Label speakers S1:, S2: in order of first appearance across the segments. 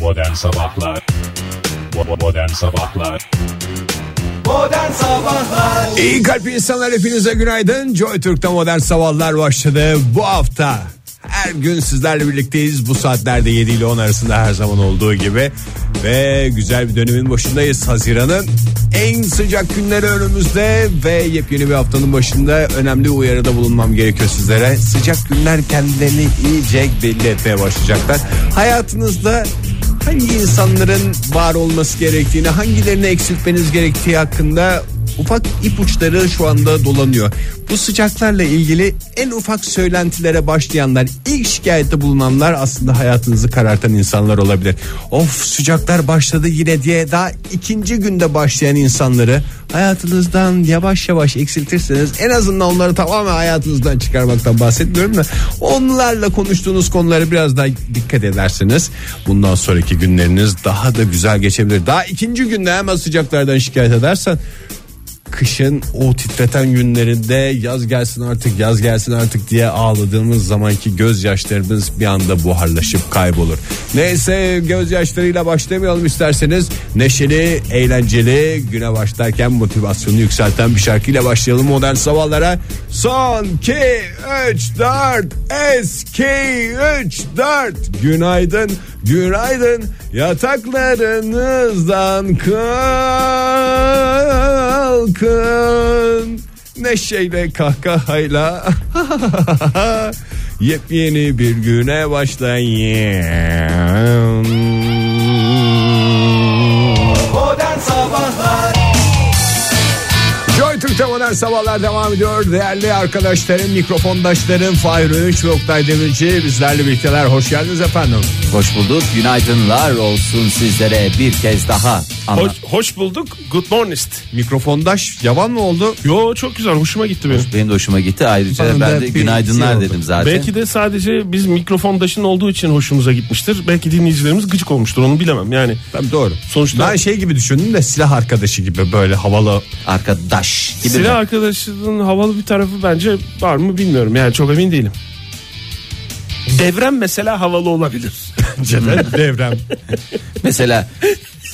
S1: Modern Sabahlar Bo- Modern Sabahlar
S2: Modern Sabahlar
S3: İyi kalp insanlar hepinize günaydın. Joy Türk'te modern sabahlar başladı. Bu hafta her gün sizlerle birlikteyiz. Bu saatlerde 7 ile 10 arasında her zaman olduğu gibi. Ve güzel bir dönemin başındayız. Haziran'ın en sıcak günleri önümüzde ve yepyeni bir haftanın başında önemli uyarıda bulunmam gerekiyor sizlere. Sıcak günler kendilerini iyice belli etmeye başlayacaklar. Hayatınızda hangi insanların var olması gerektiğini, hangilerini eksiltmeniz gerektiği hakkında ufak ipuçları şu anda dolanıyor. Bu sıcaklarla ilgili en ufak söylentilere başlayanlar, ilk şikayette bulunanlar aslında hayatınızı karartan insanlar olabilir. Of sıcaklar başladı yine diye daha ikinci günde başlayan insanları hayatınızdan yavaş yavaş eksiltirseniz en azından onları tamamen hayatınızdan çıkarmaktan bahsetmiyorum da onlarla konuştuğunuz konulara biraz daha dikkat edersiniz. Bundan sonraki günleriniz daha da güzel geçebilir. Daha ikinci günde hemen sıcaklardan şikayet edersen kışın o titreten günlerinde yaz gelsin artık yaz gelsin artık diye ağladığımız zamanki gözyaşlarımız bir anda buharlaşıp kaybolur. Neyse gözyaşlarıyla başlamayalım isterseniz. Neşeli, eğlenceli güne başlarken motivasyonu yükselten bir şarkıyla başlayalım modern sabahlara. Son 2, 3, 4, eski 3, 4. Günaydın, günaydın yataklarınızdan kal kalkın neşeyle kahkahayla yepyeni bir güne başlayın.
S2: Modern Sabahlar
S3: Joy Türk'te modern sabahlar devam ediyor. Değerli arkadaşlarım, mikrofondaşlarım Fahir Öğünç ve Oktay Demirci bizlerle birlikteler. Hoş geldiniz efendim.
S4: Hoş bulduk. Günaydınlar olsun sizlere bir kez daha. Anlat.
S5: Hoş, hoş bulduk. Good morning.
S3: Mikrofondaş yavan mı oldu?
S5: Yo çok güzel. Hoşuma gitti benim.
S4: Benim de hoşuma gitti. Ayrıca
S3: Bana
S4: ben,
S3: da
S4: de
S3: bir
S4: günaydınlar
S3: şey oldu.
S4: dedim zaten.
S5: Belki de sadece biz mikrofondaşın olduğu için hoşumuza gitmiştir. Belki dinleyicilerimiz gıcık olmuştur. Onu bilemem. Yani
S3: Tabii doğru.
S5: Sonuçta-
S3: ben şey gibi düşündüm de silah arkadaşı gibi böyle havalı.
S4: arkadaş gibi.
S5: silah
S4: mi?
S5: arkadaşının havalı bir tarafı bence var mı bilmiyorum. Yani çok emin değilim. Devrem mesela havalı olabilir.
S3: devrem.
S4: Mesela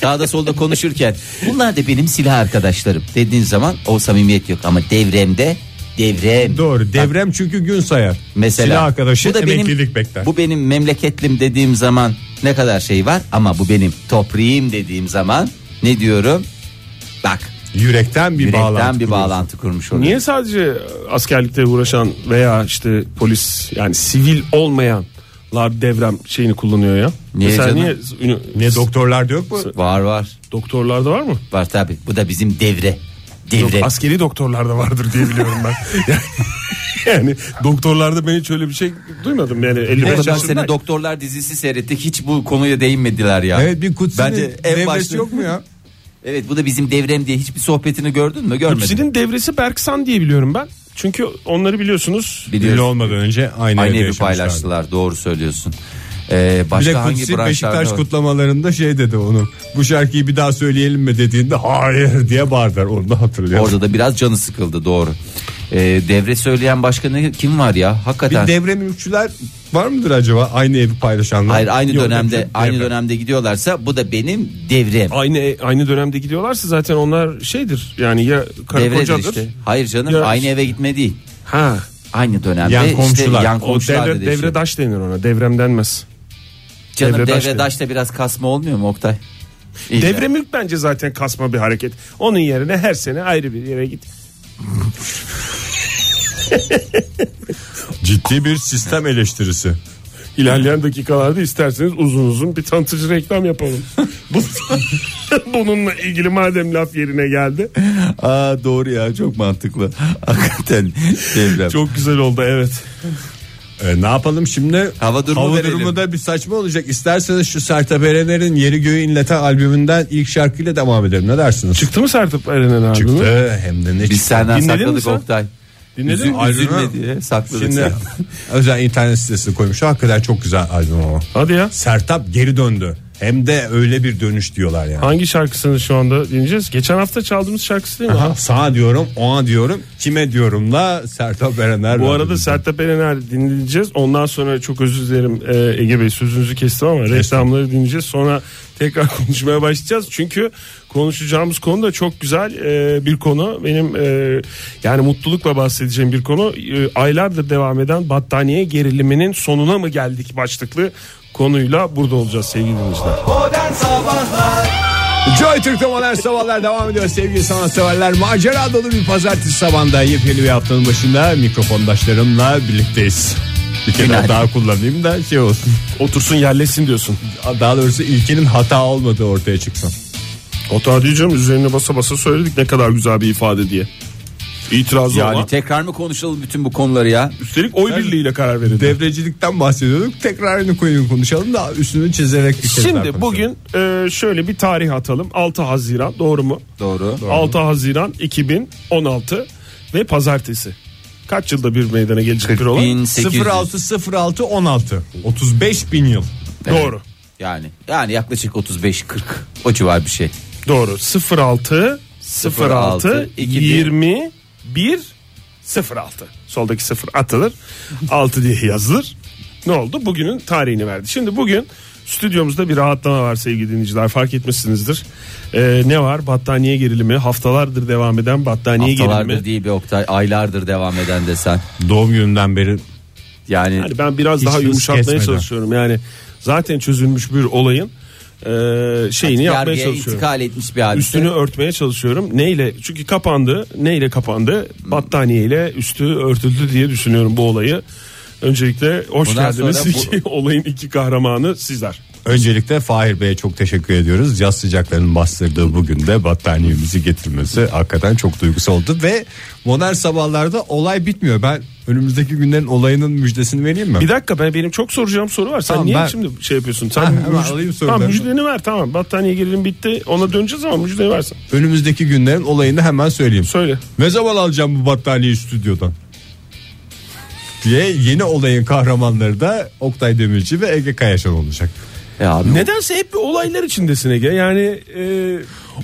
S4: sağda solda konuşurken bunlar da benim silah arkadaşlarım dediğin zaman o samimiyet yok ama devremde devrem.
S3: Doğru. Devrem çünkü gün sayar.
S4: Mesela
S3: silah arkadaşı
S4: bu da benim,
S3: emeklilik bekler.
S4: Bu benim memleketlim dediğim zaman ne kadar şey var ama bu benim toprağım dediğim zaman ne diyorum? Bak
S3: Yürekten bir
S4: yürekten
S3: bağlantı.
S4: bir
S3: kuruyorsun.
S4: bağlantı kurmuş oluyor.
S5: Niye sadece askerlikte uğraşan veya işte polis yani sivil olmayanlar devrem şeyini kullanıyor ya?
S4: Niye
S5: mesela
S4: canım?
S5: niye ünü-
S3: Ne doktorlarda yok mu?
S4: Var var.
S5: doktorlarda var mı?
S4: Var tabi. Bu da bizim devre. Devre.
S5: Yok, askeri doktorlarda vardır diye biliyorum ben. yani, yani doktorlarda ben hiç öyle bir şey duymadım yani
S4: o
S5: 55
S4: kadar
S5: yaşında.
S4: sene doktorlar dizisi seyrettik. Hiç bu konuya değinmediler ya.
S3: Evet bir kutsinin
S4: Bence en
S3: devresi
S4: başta-
S3: yok mu ya?
S4: Evet bu da bizim devrem diye hiçbir sohbetini gördün mü? Görmedim.
S5: Hepsinin devresi Berksan diye biliyorum ben. Çünkü onları biliyorsunuz.
S4: Biliyorsun.
S3: olmadan önce aynı,
S4: Aynı
S3: evde
S4: evi
S3: yaşamışlardı.
S4: paylaştılar. Doğru söylüyorsun. Ee,
S3: Bir de
S4: başka hangi
S3: Kutsi Beşiktaş
S4: branşlarda var?
S3: kutlamalarında şey dedi onu. Bu şarkıyı bir daha söyleyelim mi dediğinde hayır diye bağırdılar. Onu da hatırlıyorum.
S4: Orada da biraz canı sıkıldı doğru. Ee, devre söyleyen başka ne kim var ya?
S3: bir
S4: Hakikaten.
S3: devre mülkçüler var mıdır acaba aynı evi paylaşanlar?
S4: Hayır aynı
S3: Yok,
S4: dönemde
S3: devre.
S4: aynı dönemde gidiyorlarsa bu da benim devrem.
S5: Aynı aynı dönemde gidiyorlarsa zaten onlar şeydir. Yani ya karı
S4: Devredir
S5: kocadır.
S4: işte. Hayır canım
S5: Ya-
S4: aynı eve gitme değil.
S5: Ha.
S4: Aynı dönemde
S3: Yan
S4: işte
S3: komşular.
S4: yan
S5: O
S4: komşular
S5: devre,
S4: dedi işte.
S5: devredaş denir ona. Devrem denmez.
S4: Canım
S5: Devre
S4: devre
S5: daş
S4: daşta biraz kasma olmuyor mu Oktay? İyi
S5: Devre mülk bence zaten kasma bir hareket. Onun yerine her sene ayrı bir yere git.
S3: Ciddi bir sistem eleştirisi.
S5: İlerleyen dakikalarda isterseniz uzun uzun bir tanıtıcı reklam yapalım. Bu- Bununla ilgili madem laf yerine geldi.
S4: Aa doğru ya çok mantıklı. Hakikaten devrem.
S5: Çok güzel oldu evet.
S3: E, ne yapalım şimdi?
S4: Hava durumu verelim.
S3: durumu da bir saçma olacak. İsterseniz şu Sertab Erener'in Yeri Göğü İnleten albümünden ilk şarkıyla devam edelim. Ne dersiniz?
S5: Çıktı mı Sertap Erener abi?
S3: Çıktı hem de ne
S4: Biz senden
S5: Dinledin mi
S4: sakladık
S5: sen?
S4: Oktay.
S5: Dinledin
S4: Üzül-
S5: mi?
S4: Üzülme
S3: Albümü-
S4: diye sakladık.
S3: Şimdi
S4: senden.
S3: özel internet sitesine koymuş. Hakikaten çok güzel albüm ama.
S5: Hadi ya.
S3: Sertap geri döndü. Hem de öyle bir dönüş diyorlar yani.
S5: Hangi şarkısını şu anda dinleyeceğiz? Geçen hafta çaldığımız şarkısı değil mi?
S3: Aha, Sağa diyorum, ona diyorum, kime diyorumla Sertab Erener.
S5: Bu
S3: var.
S5: arada Sertab Erener dinleyeceğiz. Ondan sonra çok özür dilerim e, Ege Bey sözünüzü kestim ama reklamları dinleyeceğiz. Sonra tekrar konuşmaya başlayacağız. Çünkü konuşacağımız konu da çok güzel e, bir konu. Benim e, yani mutlulukla bahsedeceğim bir konu. E, aylardır devam eden battaniye geriliminin sonuna mı geldik başlıklı konuyla burada olacağız sevgili dinleyiciler.
S2: Modern Sabahlar
S3: Joy Türk'te modern sabahlar devam ediyor sevgili sanatseverler. Macera dolu bir pazartesi sabahında yepyeni bir haftanın başında mikrofondaşlarımla birlikteyiz. Bir kere
S4: Günaydın.
S3: daha kullanayım da şey olsun.
S5: Otursun yerleşsin diyorsun.
S3: Daha doğrusu ilkinin hata olmadığı ortaya çıksın.
S5: Otağı diyeceğim üzerine basa basa söyledik ne kadar güzel bir ifade diye. İtirazı
S4: Yani
S5: olan.
S4: tekrar mı konuşalım bütün bu konuları ya?
S5: Üstelik oy birliğiyle karar verildi.
S3: Devrecilikten bahsediyorduk. Tekrarını koyun konuşalım da üstünü çizerek bir kez daha
S5: Şimdi
S3: konuşalım.
S5: bugün e, şöyle bir tarih atalım. 6 Haziran doğru mu?
S4: Doğru.
S5: 6 Haziran 2016 ve pazartesi. Kaç yılda bir meydana gelecek bir olay?
S4: 1800.
S3: 06 06 16 35 bin yıl.
S5: Doğru.
S4: Yani yani yaklaşık 35 40 o civar bir şey.
S5: Doğru. 06 06 21 06. Soldaki 0 atılır. 6 diye yazılır. Ne oldu? Bugünün tarihini verdi. Şimdi bugün stüdyomuzda bir rahatlama var sevgili dinleyiciler. Fark etmişsinizdir. Ee, ne var? Battaniye gerilimi. Haftalardır devam eden battaniye gerilimi.
S4: Haftalardır değil be Oktay aylardır devam eden desen.
S3: Doğum gününden beri
S4: Yani,
S5: Yani ben biraz
S3: Hiç
S5: daha
S3: hız
S5: yumuşatmaya
S3: kesmeden.
S5: çalışıyorum. Yani zaten çözülmüş bir olayın e, şeyini yapmaya
S4: yargıya
S5: çalışıyorum.
S4: intikal etmiş bir hadise.
S5: Üstünü örtmeye çalışıyorum. Neyle? Çünkü kapandı. Neyle kapandı?
S4: Hmm.
S5: Battaniyeyle üstü örtüldü diye düşünüyorum bu olayı. Öncelikle hoş
S4: Bundan
S5: geldiniz.
S4: sonra bu-
S5: İki- olayın iki kahramanı sizler.
S3: Öncelikle Fahir Bey'e çok teşekkür ediyoruz. Yaz sıcaklarının bastırdığı bugün de battaniyemizi getirmesi hakikaten çok duygusal oldu. Ve modern sabahlarda olay bitmiyor. Ben önümüzdeki günlerin olayının müjdesini vereyim mi?
S5: Bir dakika ben benim çok soracağım soru var. Sen
S3: Tamam,
S5: niye
S3: ben-
S5: şimdi şey yapıyorsun? Sen
S3: Ha, hemen
S5: müj-
S3: alayım
S5: tamam,
S3: sorularını.
S5: müjdeni ver tamam. Battaniye gerilim bitti. Ona döneceğiz ama müjdeyi versin.
S3: Önümüzdeki günlerin olayını hemen söyleyeyim.
S5: Söyle.
S3: Ne zaman alacağım bu battaniyeyi stüdyodan? diye yeni olayın kahramanları da Oktay Demirci ve Ege Kayaşan olacak.
S4: Ya E abi,
S5: Nedense hep bir olaylar içindesin Ege. Yani e,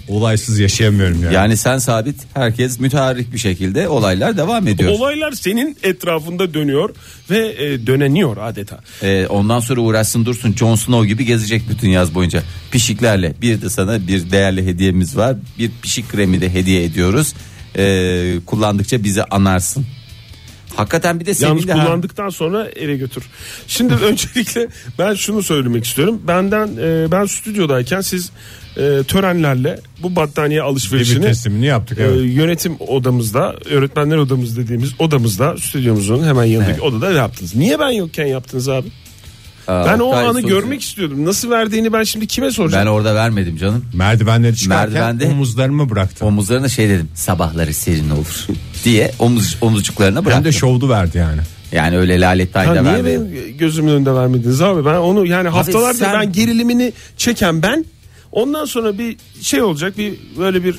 S3: Olaysız yaşayamıyorum yani.
S4: Yani sen sabit herkes müteharrik bir şekilde olaylar devam ediyor.
S5: Olaylar senin etrafında dönüyor ve e, döneniyor adeta.
S4: Ee, ondan sonra uğraşsın dursun Jon Snow gibi gezecek bütün yaz boyunca. Pişiklerle bir de sana bir değerli hediyemiz var. Bir pişik kremi de hediye ediyoruz. Ee, kullandıkça bizi anarsın. Hakikaten bir de senin
S5: Yalnız
S4: de ha-
S5: kullandıktan sonra eve götür. Şimdi öncelikle ben şunu söylemek istiyorum. Benden e, ben stüdyodayken siz e, törenlerle bu battaniye
S3: bir
S5: alışverişini
S3: teslimini yaptık.
S5: e,
S3: Evet.
S5: yönetim odamızda, öğretmenler odamız dediğimiz odamızda, stüdyomuzun hemen yanındaki odada yaptınız. Niye ben yokken yaptınız abi?
S4: Aa,
S5: ben o
S4: Oktay
S5: anı
S4: soruyor.
S5: görmek istiyordum. Nasıl verdiğini ben şimdi kime soracağım?
S4: Ben orada vermedim canım.
S3: Merdivenleri çıkarken
S4: Merdivende-
S3: omuzlarımı bıraktım.
S4: Omuzlarına şey dedim. Sabahları serin olur diye omuz omuzcuklarına
S3: Hem de
S4: bıraktım.
S3: şovdu verdi yani.
S4: Yani öyle lalet
S5: Ha,
S4: tayda
S5: niye
S4: vermedim.
S5: benim gözümün önünde vermediniz abi? Ben onu yani haftalardır
S4: sen-
S5: ben gerilimini çeken ben. Ondan sonra bir şey olacak bir böyle bir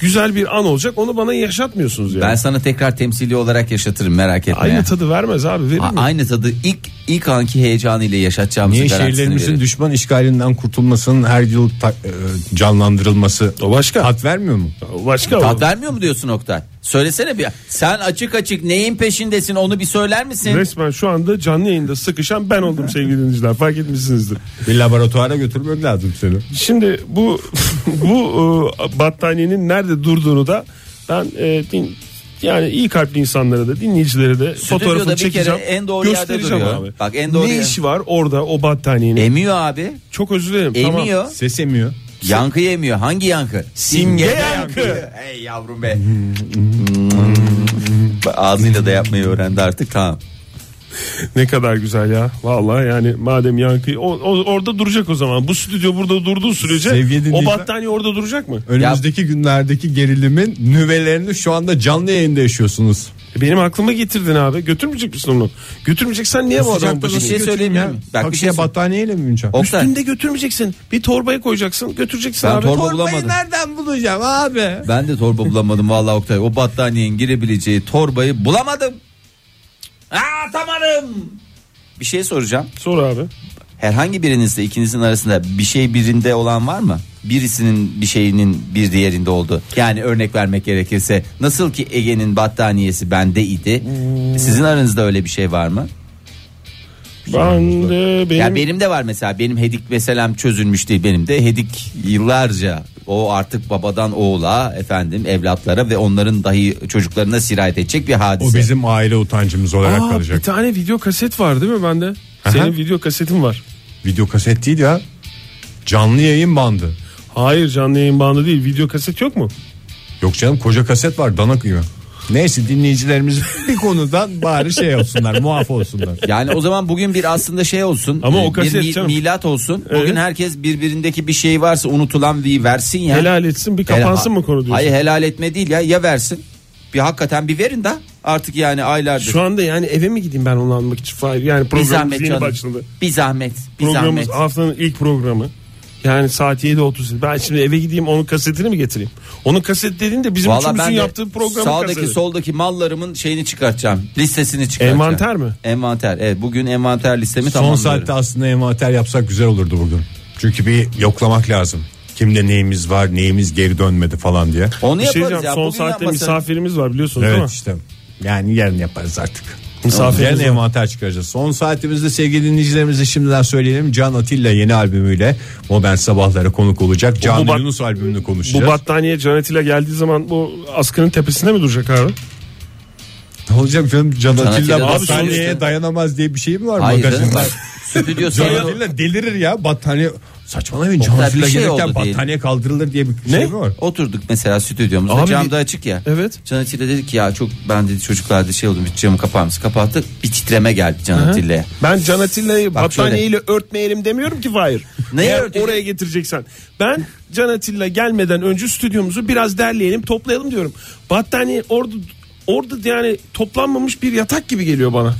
S5: güzel bir an olacak. Onu bana yaşatmıyorsunuz yani.
S4: Ben sana tekrar temsili olarak yaşatırım merak etme.
S5: Aynı
S4: ya.
S5: tadı vermez abi verir
S4: A-
S5: mi?
S4: aynı tadı ilk ilk anki heyecanıyla yaşatacağımızı
S3: Niye
S4: garantisini
S3: şehirlerimizin
S4: veririm.
S3: düşman işgalinden kurtulmasının her yıl ta- e, canlandırılması
S5: O başka.
S3: tat vermiyor mu?
S5: Başka o.
S4: Tat vermiyor mu diyorsun Oktay? Söylesene bir. Sen açık açık neyin peşindesin onu bir söyler misin?
S5: Resmen şu anda canlı yayında sıkışan ben oldum sevgili dinleyiciler fark etmişsinizdir.
S3: Bir laboratuvara götürmek lazım seni.
S5: Şimdi bu bu e, battaniyenin nerede durduğunu da ben e, din- yani iyi kalpli insanlara da dinleyicilere de fotoğrafını
S4: bir kere
S5: çekeceğim.
S4: en doğru yerde
S5: göstereceğim
S4: duruyor.
S5: abi.
S4: Bak en doğru
S5: ne
S4: yer-
S5: işi var orada o battaniyenin?
S4: Emiyor abi.
S5: Çok özür dilerim. Tamam.
S4: Emiyor.
S3: Ses emiyor.
S4: Yankı yemiyor. Hangi yankı?
S5: Simge
S4: Simgede
S5: yankı.
S4: Hey yavrum be. Bak, Ağzıyla da yapmayı öğrendi artık tamam.
S5: Ne kadar güzel ya. Vallahi yani madem yankı o, o- orada duracak o zaman. Bu stüdyo burada durduğu sürece
S3: Sevgili
S5: o
S3: dinleyiciler-
S5: battaniye orada duracak mı?
S3: Önümüzdeki günlerdeki gerilimin nüvelerini şu anda canlı yayında yaşıyorsunuz.
S5: Benim aklıma getirdin abi. Götürmeyecek misin onu? Götürmeyeceksen niye bu adamın
S3: Sıcakta
S5: başına?
S4: bir şey söyleyeyim
S3: ya.
S4: mi? Bak, bir
S3: Taksiye
S4: şey söyle-
S3: battaniyeyle mi bineceğim?
S4: Oktay
S5: Üstünde götürmeyeceksin. Bir torbaya koyacaksın. Götüreceksin
S4: Ben
S5: abi.
S4: torba
S5: Torbayı
S4: bulamadım.
S5: nereden bulacağım abi?
S4: ben de torba bulamadım vallahi Oktay. O battaniyenin girebileceği torbayı bulamadım. Aa tamam. Bir şey soracağım.
S5: Sor abi.
S4: herhangi birinizle ikinizin arasında bir şey birinde olan var mı? Birisinin bir şeyinin bir diğerinde oldu. Yani örnek vermek gerekirse nasıl ki Ege'nin battaniyesi bende idi. Sizin aranızda öyle bir şey var mı?
S5: Ben de
S4: Ya
S5: benim,
S4: benim de var mesela benim hedik meselem çözülmüş değil benim de hedik yıllarca o artık babadan oğula efendim evlatlara ve onların dahi çocuklarına sirayet edecek bir hadise.
S3: O bizim aile utancımız olarak
S5: Aa, bir
S3: kalacak.
S5: tane video kaset var değil mi bende? Senin video kasetin var.
S3: Video kaset değil ya. Canlı yayın bandı.
S5: Hayır canlı yayın bandı değil. Video kaset yok mu?
S3: Yok canım koca kaset var dana kıyma. Neyse dinleyicilerimiz bir konudan bari şey olsunlar muaf olsunlar.
S4: Yani o zaman bugün bir aslında şey olsun.
S5: Ama
S4: e,
S5: o kaset
S4: bir mi-
S5: canım.
S4: milat olsun. Bugün
S5: Evet.
S4: herkes birbirindeki bir şey varsa unutulan bir versin ya.
S5: Helal etsin bir kapansın
S4: Helal-
S5: mı konu diyorsun?
S4: Hayır helal etme değil ya ya versin. Bir hakikaten bir verin de artık yani aylardır.
S5: Şu anda yani eve mi gideyim ben onu almak için? Hayır, Yani
S4: bir
S5: programımız
S4: zahmet
S5: yeni
S4: canım.
S5: başladı.
S4: Bir zahmet. Bir
S5: Programımız
S4: zahmet.
S5: haftanın ilk programı. Yani saat 7.30. Ben şimdi eve gideyim onun kasetini mi getireyim? Onun kaset dediğin de bizim
S4: Valla
S5: üçümüzün
S4: ben de
S5: yaptığı programın
S4: sağdaki
S5: kaseti.
S4: soldaki mallarımın şeyini çıkartacağım. Listesini çıkartacağım.
S5: Envanter mi?
S4: Envanter. Evet bugün envanter listemi
S3: Son
S4: tamamlıyorum.
S3: saatte aslında envanter yapsak güzel olurdu bugün. Çünkü bir yoklamak lazım. Kimde neyimiz var neyimiz geri dönmedi falan diye.
S4: Onu
S5: Bir şey
S4: yaparız
S5: diyeceğim,
S4: ya.
S5: son
S4: bugün
S5: saatte
S4: yapmasak-
S5: misafirimiz var biliyorsunuz değil
S3: Evet
S5: mi?
S3: işte yani yarın yaparız artık.
S5: Misafirimiz
S3: Yarın
S5: var.
S3: envanter çıkaracağız. Son saatimizde sevgili dinleyicilerimize şimdiden söyleyelim. Can Atilla yeni albümüyle Modern Sabahlara konuk olacak. Can
S5: bu bat-
S3: Yunus albümünü
S5: Bu
S3: konuşacağız.
S5: battaniye Canet ile geldiği zaman bu askının tepesinde mi duracak abi?
S3: Ne olacak canım Can Atilla
S4: Atilla
S3: battaniyeye
S4: işte.
S3: dayanamaz diye bir şey mi var
S4: Hayır canım,
S3: magazinde?
S4: bak, stüdyo
S3: Can
S4: salonu-
S3: Atilla delirir ya battaniye. Saçmalamayın Can
S4: kadar
S3: Atilla
S4: bir şey
S3: gelirken
S4: oldu diyelim.
S3: battaniye kaldırılır diye bir şey mi var?
S4: Oturduk mesela stüdyomuzda
S5: Abi-
S4: cam da açık ya.
S5: Evet.
S4: Can Atilla dedi ki ya çok ben dedi çocuklar dedi şey oldum hiç camı kapar mısın? Kapattı bir titreme geldi Can Atilla'ya.
S5: Ben Can Atilla'yı
S4: Bak şöyle.
S5: battaniyeyle örtmeyelim demiyorum ki Fahir.
S4: Neyi
S5: Eğer
S4: örteceğiz?
S5: oraya getireceksen. Ben Can Atilla gelmeden önce stüdyomuzu biraz derleyelim toplayalım diyorum. Battaniye orada orada yani toplanmamış bir yatak gibi geliyor bana.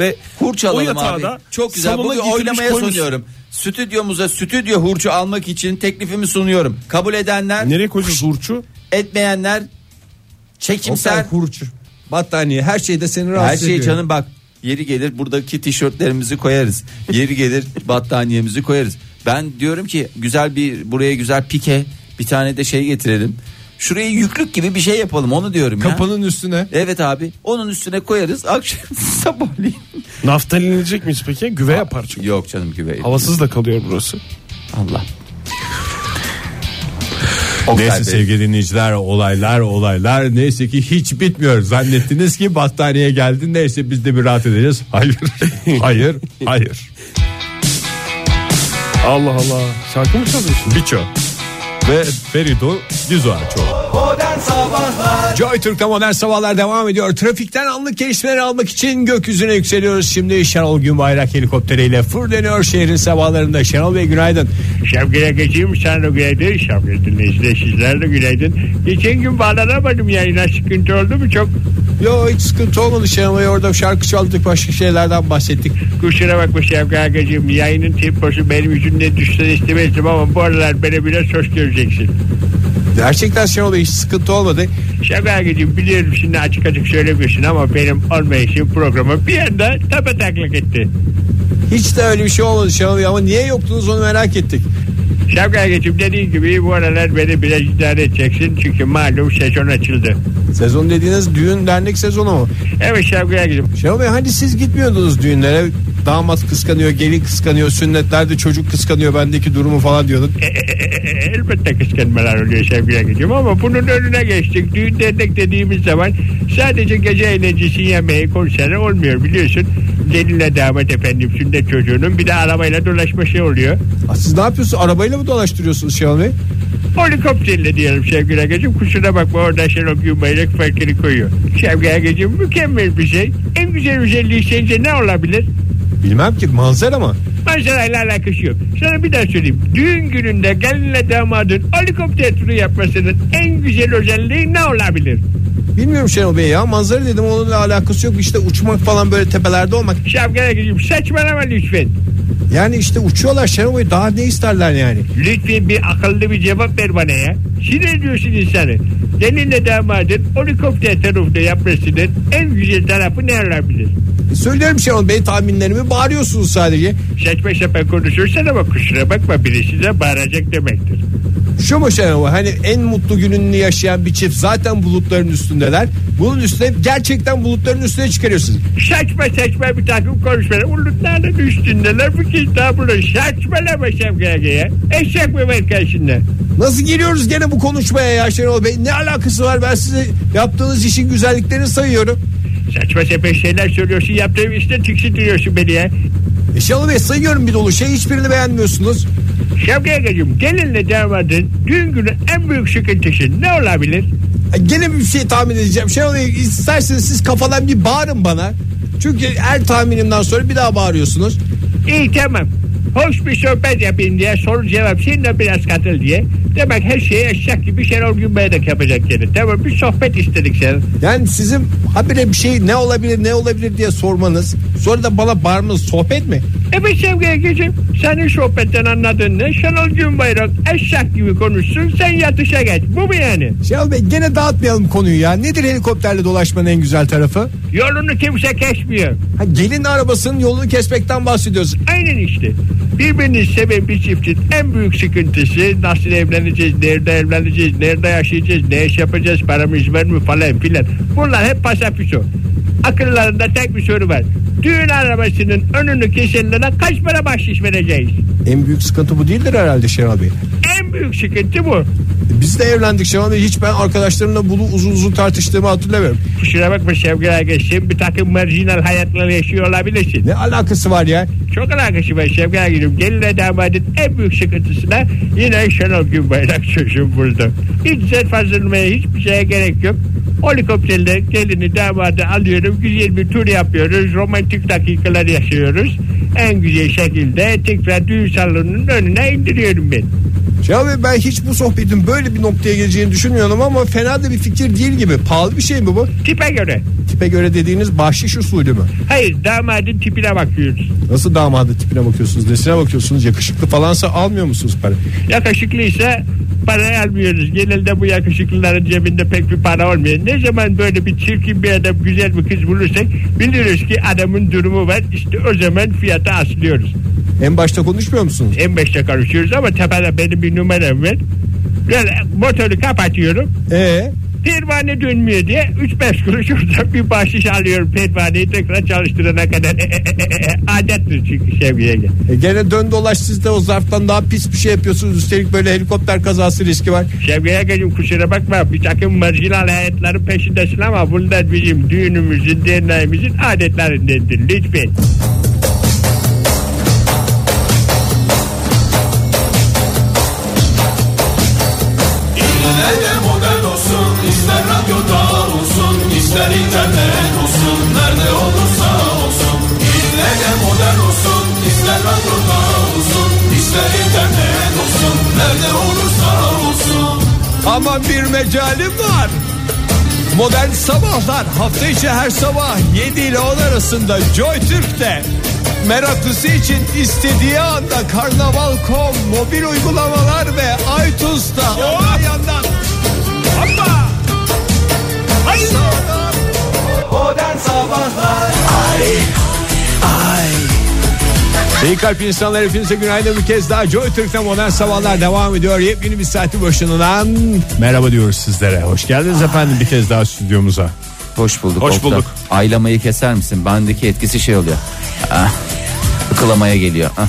S5: Ve o
S4: Hurçalalım
S5: yatağı
S4: abi.
S5: da
S4: Çok güzel.
S5: salona
S4: Bugün
S5: getirmiş,
S4: oylamaya
S5: koymuş.
S4: sunuyorum. Stüdyomuza stüdyo hurçu almak için teklifimi sunuyorum. Kabul edenler,
S5: Nereye koyacağız hurçu?
S4: etmeyenler çekimser
S3: kurçu. Battaniye her şeyde seni
S4: her
S3: rahatsız
S4: şey
S3: ediyor.
S4: canım bak. Yeri gelir buradaki tişörtlerimizi koyarız. Yeri gelir battaniyemizi koyarız. Ben diyorum ki güzel bir buraya güzel pike bir tane de şey getirelim. Şuraya yüklük gibi bir şey yapalım onu diyorum ya.
S3: Kapının üstüne.
S4: Evet abi onun üstüne koyarız akşam sabahleyin.
S5: Naftalinecek miyiz peki? Güve yapar çünkü.
S4: Yok canım güvey.
S5: Havasız da kalıyor burası.
S4: Allah.
S3: Neyse
S4: Bey.
S3: sevgili dinleyiciler olaylar olaylar neyse ki hiç bitmiyor. Zannettiniz ki battaniye geldi neyse biz de bir rahat edeceğiz. Hayır hayır hayır.
S5: Allah Allah. Şarkı mı çalıyorsun?
S3: Biço ve Ferido Düzuaço.
S2: Modern Sabahlar
S3: Joy Türk'te modern sabahlar devam ediyor. Trafikten anlık gelişmeleri almak için gökyüzüne yükseliyoruz. Şimdi Şenol Günbayrak helikopteriyle fırlanıyor şehrin sabahlarında. Şenol Bey günaydın.
S6: Şevkine geçeyim sen de günaydın. Şevkine dinleyiciler sizler de günaydın. Geçen gün bağlanamadım yayına sıkıntı oldu mu çok?
S3: Yo hiç sıkıntı olmadı Şenol Bey orada şarkı çaldık başka şeylerden bahsettik.
S6: Kusura bakma Şevkine Agacığım yayının temposu benim yüzümden düşsen istemezdim ama bu aralar beni biraz hoş göreceksin.
S3: Gerçekten Şenol Bey hiç sıkıntı olmadı.
S6: Şevkine Agacığım biliyorum şimdi açık açık söylemiyorsun ama benim olmayışım programı bir anda tapataklak etti.
S3: Hiç de öyle bir şey olmadı Şenol Bey ama niye yoktunuz onu merak ettik.
S6: Şevkine Agacığım dediğin gibi bu aralar beni biraz idare edeceksin çünkü malum sezon açıldı.
S3: Sezon dediğiniz düğün dernek sezonu mu?
S6: Evet Şevkine Agacığım
S3: Şenol Bey hani siz gitmiyordunuz düğünlere? Damat kıskanıyor, gelin kıskanıyor, sünnetlerde çocuk kıskanıyor bendeki durumu falan diyordun.
S6: E, e, e, e, elbette kıskanmalar oluyor sevgili Akıcığım ama bunun önüne geçtik. Düğün dernek dediğimiz zaman sadece gece eğlencesi yemeği konseri olmuyor biliyorsun. Gelinle damat efendim sünnet çocuğunun bir de arabayla dolaşması oluyor.
S3: Aa, Siz ne yapıyorsunuz? Arabayla mı dolaştırıyorsunuz Şenol Bey?
S6: Helikopterle diyelim sevgili Akıcığım kusura bakma orada Şenol Gümbayrak farkını koyuyor. Sevgili Akıcığım mükemmel bir şey. En güzel özelliği sence ne olabilir?
S3: Bilmem ki manzara mı?
S6: Manzarayla alakası yok. Sana bir daha söyleyeyim. Düğün gününde gelinle damadın helikopter turu yapmasının en güzel özelliği ne olabilir?
S3: Bilmiyorum Şenol Bey ya manzara dedim onunla alakası yok işte uçmak falan böyle tepelerde olmak.
S6: Şapkaya gireyim. Saçmalama lütfen.
S3: Yani işte uçuyorlar Şenol Bey daha ne isterler yani?
S6: Lütfen bir akıllı bir cevap ver bana ya. Sinir ediyorsun insanı. Gelinle damadın helikopter tarafında yapmasının en güzel tarafı ne olabilir?
S3: E, Söylüyorum Şenol Bey tahminlerimi bağırıyorsunuz sadece.
S6: Saçma sapan konuşursan ama kusura bakma biri size bağıracak demektir.
S3: Şu mu Şenol Bey, hani en mutlu gününü yaşayan bir çift zaten bulutların üstündeler. Bunun üstüne gerçekten bulutların üstüne çıkarıyorsunuz.
S6: Saçma saçma bir takım konuşmalar. Ulutlarının üstündeler bu kez daha burada. Saçmalama Şevkaya. Eşek mi var karşında?
S3: Nasıl giriyoruz gene bu konuşmaya ya Şenol Bey? Ne alakası var? Ben size yaptığınız işin güzelliklerini sayıyorum.
S6: Saçma sapan şeyler söylüyorsun. Yaptığım işte tiksindiriyorsun beni ya.
S3: E Şenol Bey sayıyorum bir dolu şey hiçbirini beğenmiyorsunuz.
S6: Şevkaya Gaga'cığım gelinle damadın düğün günü en büyük sıkıntısı ne olabilir?
S3: E Gene bir şey tahmin edeceğim. Şenol Bey isterseniz siz kafadan bir bağırın bana. Çünkü her tahminimden sonra bir daha bağırıyorsunuz.
S6: İyi tamam. Hoş bir sohbet yapayım diye soru cevap sen de biraz katıl diye. Demek her şeyi eşek gibi Şenol Günbey de yapacak yani. Tamam bir sohbet istedik sen.
S3: Yani sizin habire bir şey ne olabilir ne olabilir diye sormanız. Sonra da bana bağırmanız sohbet mi?
S6: Evet Sevgi Egeciğim senin sohbetten anladın ne? Şenol Günbayrak eşek gibi konuşsun sen yatışa geç. Bu mu yani?
S3: Şenol Bey gene dağıtmayalım konuyu ya. Nedir helikopterle dolaşmanın en güzel tarafı?
S6: Yolunu kimse kesmiyor.
S3: Ha, gelin arabasının yolunu kesmekten bahsediyoruz.
S6: Aynen işte. Birbirini seven bir çiftin en büyük sıkıntısı nasıl evleneceğiz, nerede evleneceğiz, nerede yaşayacağız, ne iş yapacağız, paramız var mı falan filan. Bunlar hep pasafiso. Akıllarında tek bir soru var. Düğün arabasının önünü kesenlere kaç para bahşiş vereceğiz?
S3: En büyük sıkıntı bu değildir herhalde Şenol Bey. E,
S6: En büyük sıkıntı bu.
S3: Biz de evlendik Şenol Bey. Hiç ben arkadaşlarımla bunu uzun uzun tartıştığımı hatırlamıyorum.
S6: Kusura bakma Sevgi Ağaç'ın bir takım marjinal hayatlar yaşıyor olabilirsin.
S3: Ne alakası var ya?
S6: Çok alakası var Şevki Ergin'im. Gelinle damadın en büyük sıkıntısına yine Şenol Günbayrak çözüm buldu. Hiç sen fazlalmaya hiçbir şeye gerek yok. Helikopterle gelini damadı alıyorum. Güzel bir tur yapıyoruz. Romantik dakikalar yaşıyoruz. En güzel şekilde tekrar düğün salonunun önüne indiriyorum ben.
S3: Şenol Bey ben hiç bu sohbetin böyle bir noktaya geleceğini düşünmüyorum ama fena da bir fikir değil gibi. Pahalı bir şey mi bu?
S6: Tipe göre.
S3: Tipe göre dediğiniz bahşiş usulü mü?
S6: Hayır damadın tipine bakıyoruz.
S3: Nasıl damadı tipine bakıyorsunuz? Nesine bakıyorsunuz? Yakışıklı falansa almıyor musunuz para?
S6: Yakışıklıysa para almıyoruz. Genelde bu yakışıklıların cebinde pek bir para olmuyor. Ne zaman böyle bir çirkin bir adam güzel bir kız bulursak biliriz ki adamın durumu var. İşte o zaman fiyata aslıyoruz.
S3: En başta konuşmuyor musunuz?
S6: En başta konuşuyoruz ama tepede benim bir numaram var. Böyle motoru kapatıyorum.
S3: Ee,
S6: Pervane dönmüyor diye 3-5 kuruş oradan bir bahşiş alıyorum pervaneyi tekrar çalıştırana kadar. Adettir çünkü sevgiye gel.
S3: e gene dön dolaş siz de o zarftan daha pis bir şey yapıyorsunuz. Üstelik böyle helikopter kazası riski var.
S6: Şevki'ye gelin kusura bakma bir takım marjinal hayatların peşindesin ama bunlar bizim düğünümüzün, derneğimizin adetlerindendir lütfen.
S2: Yine de modern olsun ister radyoda olsun ister internet olsun Nerede olursa olsun Yine de modern olsun ister radyoda olsun ister internet olsun Nerede olursa olsun
S3: Ama bir mecalim var. Modern Sabahlar hafta içi her sabah 7 ile 10 arasında Joy Türk'te. Meraklısı için istediği anda Karnaval.com mobil uygulamalar ve iTunes'ta Ondan yandan. Hoppa! Hayır.
S2: Modern Sabahlar
S3: İyi kalp insanlar hepinize günaydın bir kez daha Joy Türk'te modern sabahlar devam ediyor. Yepyeni bir saati başından merhaba diyoruz sizlere. Hoş geldiniz efendim bir kez daha stüdyomuza.
S4: Hoş bulduk.
S5: Hoş
S4: Oktay.
S5: bulduk.
S4: Aylamayı keser misin? Bendeki etkisi şey oluyor. Ah, ıkılamaya geliyor. Ah.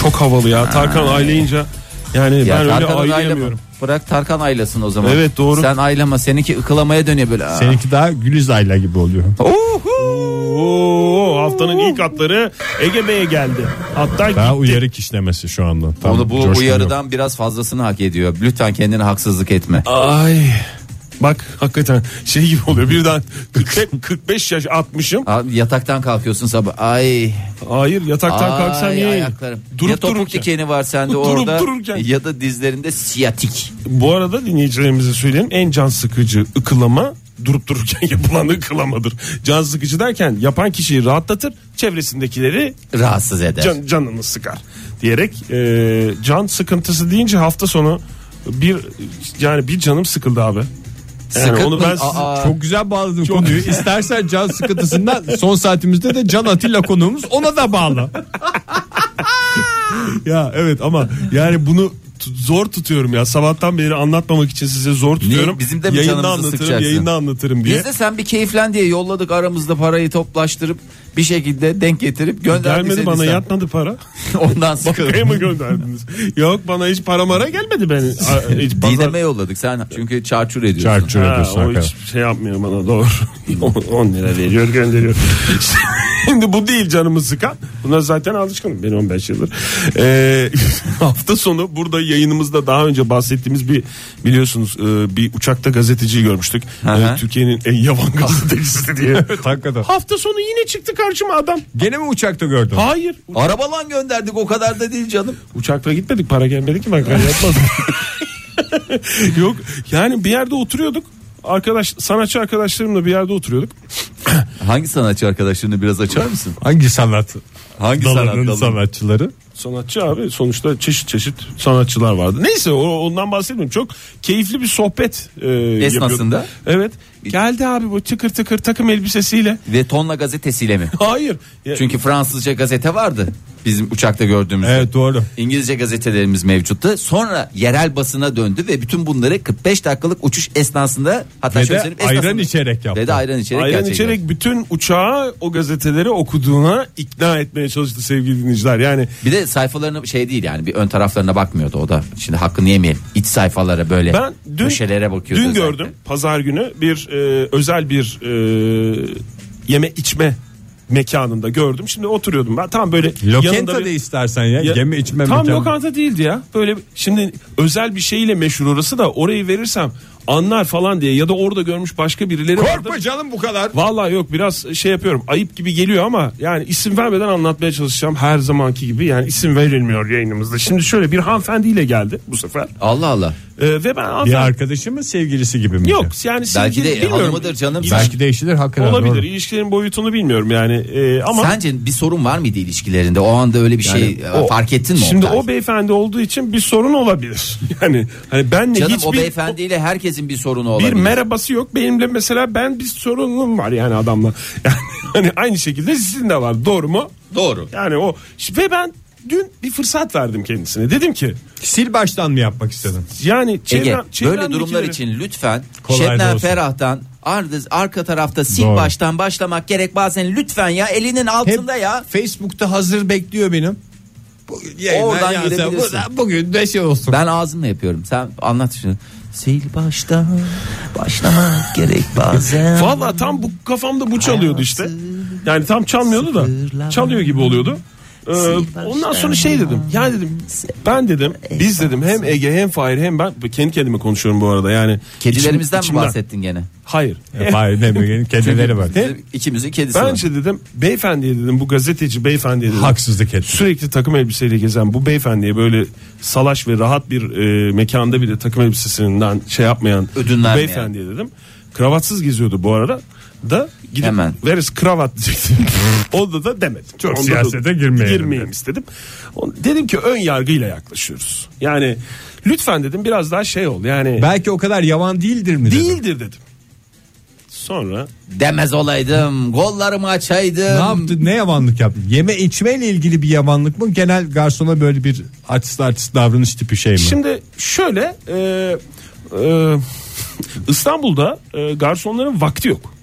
S5: Çok havalı ya. Tarkan aylayınca yani
S4: Ya
S5: ben öyle
S4: Tarkan'ın aylama-
S5: aylayamıyorum.
S4: Bırak Tarkan aylasın o zaman.
S5: Evet, doğru.
S4: Sen aylama seninki ıkılamaya dönüyor böyle. oh, Ah.
S3: Seninki daha Güliz Ayla gibi oluyor.
S5: Oo, haftanın ilk atları Ege Bey'e geldi. Hatta
S7: Daha
S5: gitti.
S7: uyarı kişnemesi şu anda. Tam
S4: Onu bu
S7: coşkun yok.
S4: uyarıdan biraz fazlasını hak ediyor. Lütfen kendine haksızlık etme.
S5: Ay. Bak hakikaten şey gibi oluyor birden 45, 45 yaş 60'ım.
S4: Abi yataktan kalkıyorsun sabah. Ay.
S5: Hayır yataktan
S4: ay,
S5: kalksam niye?
S4: ayaklarım.
S5: Durup
S4: ya topuk
S5: dururken.
S4: dikeni var sende
S5: Durup
S4: orada
S5: dururken.
S4: ya da dizlerinde siyatik.
S5: Bu arada dinleyicilerimize söyleyeyim en can sıkıcı ıkılama durup dururken yapılan ıkılamadır. Can sıkıcı derken yapan kişiyi rahatlatır çevresindekileri
S4: Rahatsız eder.
S5: can, canını sıkar diyerek e, can sıkıntısı deyince hafta sonu bir yani bir canım sıkıldı abi.
S4: Sıkıntı-
S5: onu ben
S4: Aa,
S3: Çok güzel bağladın konuyu. İstersen can sıkıntısından son saatimizde de Can Atilla konuğumuz ona da bağla.
S5: Ya evet ama yani bunu t- zor tutuyorum ya. Sabahtan beri anlatmamak için size zor tutuyorum.
S4: Bizim de mi
S5: yayında
S4: canımızı
S5: anlatırım,
S4: sıkacaksın?
S5: yayında anlatırım diye.
S4: Biz de sen bir keyiflen diye yolladık aramızda parayı toplaştırıp bir şekilde denk getirip gönderdin.
S5: Gelmedi bana yatmadı para.
S4: Ondan
S5: Kaya
S4: sıkıldım.
S5: mı gönderdiniz? Yok bana hiç para mara gelmedi ben. A- Hiç pazar-
S4: Didem'e yolladık sen çünkü çarçur ediyorsun.
S5: Ha, o hiç şey yapmıyor bana doğru. 10 lira veriyor gönderiyor. Şimdi bu değil canımı sıkan. Buna zaten alışkınım ben 15 yıldır. Ee, hafta sonu burada yayınımızda daha önce bahsettiğimiz bir biliyorsunuz e, bir uçakta gazeteciyi görmüştük.
S4: Aha.
S5: Ee, Türkiye'nin en yavan gazetecisi diye.
S3: Hakikaten.
S5: hafta sonu yine çıktı karşıma adam.
S3: Gene mi uçakta gördün?
S5: Hayır.
S4: Arabalan gönderdik o kadar da değil canım.
S5: Uçakla gitmedik para gelmedi ki ben yapmadım. Yok yani bir yerde oturuyorduk. Arkadaş sanatçı arkadaşlarımla bir yerde oturuyorduk.
S4: Hangi sanatçı arkadaşlarını biraz açar mısın?
S3: Hangi sanat?
S4: Hangi sanat
S3: Dalının
S4: dalını?
S3: sanatçıları?
S5: Sanatçı abi sonuçta çeşit çeşit sanatçılar vardı. Neyse o- ondan bahsetmiyorum. Çok keyifli bir sohbet e,
S4: Esnasında?
S5: yapıyorduk. Evet. Geldi abi bu tıkır tıkır takım elbisesiyle.
S4: Ve tonla gazetesiyle mi?
S5: Hayır. Ya-
S4: Çünkü Fransızca gazete vardı bizim uçakta gördüğümüz.
S3: Evet doğru.
S4: İngilizce gazetelerimiz mevcuttu. Sonra yerel basına döndü ve bütün bunları 45 dakikalık uçuş esnasında hatta
S3: Ve
S4: şöyle
S3: de
S4: söyleyeyim, şey esnasında-
S3: ayran içerek yaptı.
S4: Ve de ayran içerek
S5: Ayran
S4: gerçekten.
S5: içerek bütün uçağı o gazeteleri okuduğuna ikna etmeye çalıştı sevgili dinleyiciler. Yani
S4: Bir de sayfalarına şey değil yani bir ön taraflarına bakmıyordu o da. Şimdi hakkını yemeyelim. İç sayfalara böyle
S5: Ben dün
S4: köşelere bakıyordu.
S5: Dün
S4: özellikle.
S5: gördüm pazar günü bir e, özel bir e, yeme içme mekanında gördüm. Şimdi oturuyordum ben. Tam böyle yanında
S3: Lokenta
S5: bir-
S3: de istersen ya.
S5: Ya,
S3: Yeme içme
S5: Tam
S3: mekanı.
S5: lokanta değildi ya. Böyle şimdi özel bir şeyle meşhur orası da orayı verirsem anlar falan diye ya da orada görmüş başka birileri vardır.
S3: Korkma canım bu kadar.
S5: Vallahi yok biraz şey yapıyorum ayıp gibi geliyor ama yani isim vermeden anlatmaya çalışacağım her zamanki gibi yani isim verilmiyor yayınımızda. Şimdi şöyle bir hanımefendiyle geldi bu sefer
S4: Allah Allah.
S5: Ee, ve ben
S3: Bir
S5: hanımefendi
S3: arkadaşı mı sevgilisi gibi mi?
S5: yok yani
S4: Belki
S5: sevgili
S4: de
S5: bilmiyorum.
S4: hanımıdır canım.
S5: İlişki-
S3: Belki değişilir hakikaten.
S5: olabilir
S3: doğru.
S5: ilişkilerin boyutunu bilmiyorum yani Ee, ama
S4: Sence bir sorun var mıydı ilişkilerinde? O anda öyle bir şey
S5: o-
S4: fark ettin mi?
S5: Şimdi
S4: Oktay?
S5: o beyefendi olduğu için bir sorun olabilir. Yani hani benle
S4: Canım
S5: hiçbir
S4: o beyefendiyle herkesin bir sorunu
S5: bir
S4: olabilir.
S5: merhabası yok. Benimle mesela ben bir sorunum var yani adamla. Yani hani aynı şekilde sizin de var. Doğru mu?
S4: Doğru.
S5: Yani o ve ben dün bir fırsat verdim kendisine. Dedim ki
S3: Sil baştan mı yapmak istedin?
S5: yani
S4: Ege,
S5: çevrem,
S4: böyle
S5: çevremdekileri-
S4: durumlar için lütfen
S3: Kolay da
S4: Şebnem
S3: olsun.
S4: Ferah'tan Ardız arka tarafta sil
S3: Doğru.
S4: baştan başlamak gerek bazen lütfen ya elinin
S3: Hep
S4: altında ya.
S3: Facebook'ta hazır bekliyor benim. Bu- yayınlar
S4: Oradan
S3: yazsa-
S4: girebilirsin.
S3: bu- Bugün de şey olsun.
S4: Ben ağzımla yapıyorum. Sen anlat şunu. Sil baştan başlamak gerek bazen.
S5: Valla tam bu kafamda bu çalıyordu işte. Yani tam çalmıyordu da çalıyor gibi oluyordu. Ee, ondan sonra şey dedim. Ya dedim ben dedim biz dedim hem Ege hem Fahir hem ben kendi kendime konuşuyorum bu arada yani.
S4: Kedilerimizden
S5: İçim-
S4: mi
S5: içimden.
S4: bahsettin gene?
S5: Hayır.
S3: Hayır demiyor. Kendileri var.
S4: Bizim İkimizin kedisi var.
S5: Bence dedim beyefendiye dedim bu gazeteci beyefendiye dedim.
S3: Haksızlık etti.
S5: Sürekli takım elbiseyle gezen bu beyefendiye böyle salaş ve rahat bir e, mekanda bile takım elbisesinden şey yapmayan
S4: Ödün
S5: bu
S4: vermeyen.
S5: beyefendiye dedim. Kravatsız geziyordu bu arada da gidip
S4: Hemen.
S5: veririz kravat diyecektim. Onda da demedim. Çok
S3: siyasete girmeyelim
S5: Girmeyeyim istedim. O- Dedim ki ön yargıyla yaklaşıyoruz. Yani lütfen dedim biraz daha şey ol yani
S3: Belki o kadar yavan değildir mi? dedim.
S5: değildir dedim. Sonra
S4: Demez olaydım. Kollarımı açaydım.
S3: Ne yaptı? Ne yavanlık yaptı? Yeme içmeyle ilgili bir yavanlık mı? Genel garsona böyle bir artist artist davranış tipi şey mi?
S5: Şimdi şöyle e, e, İstanbul'da e, garsonların vakti yok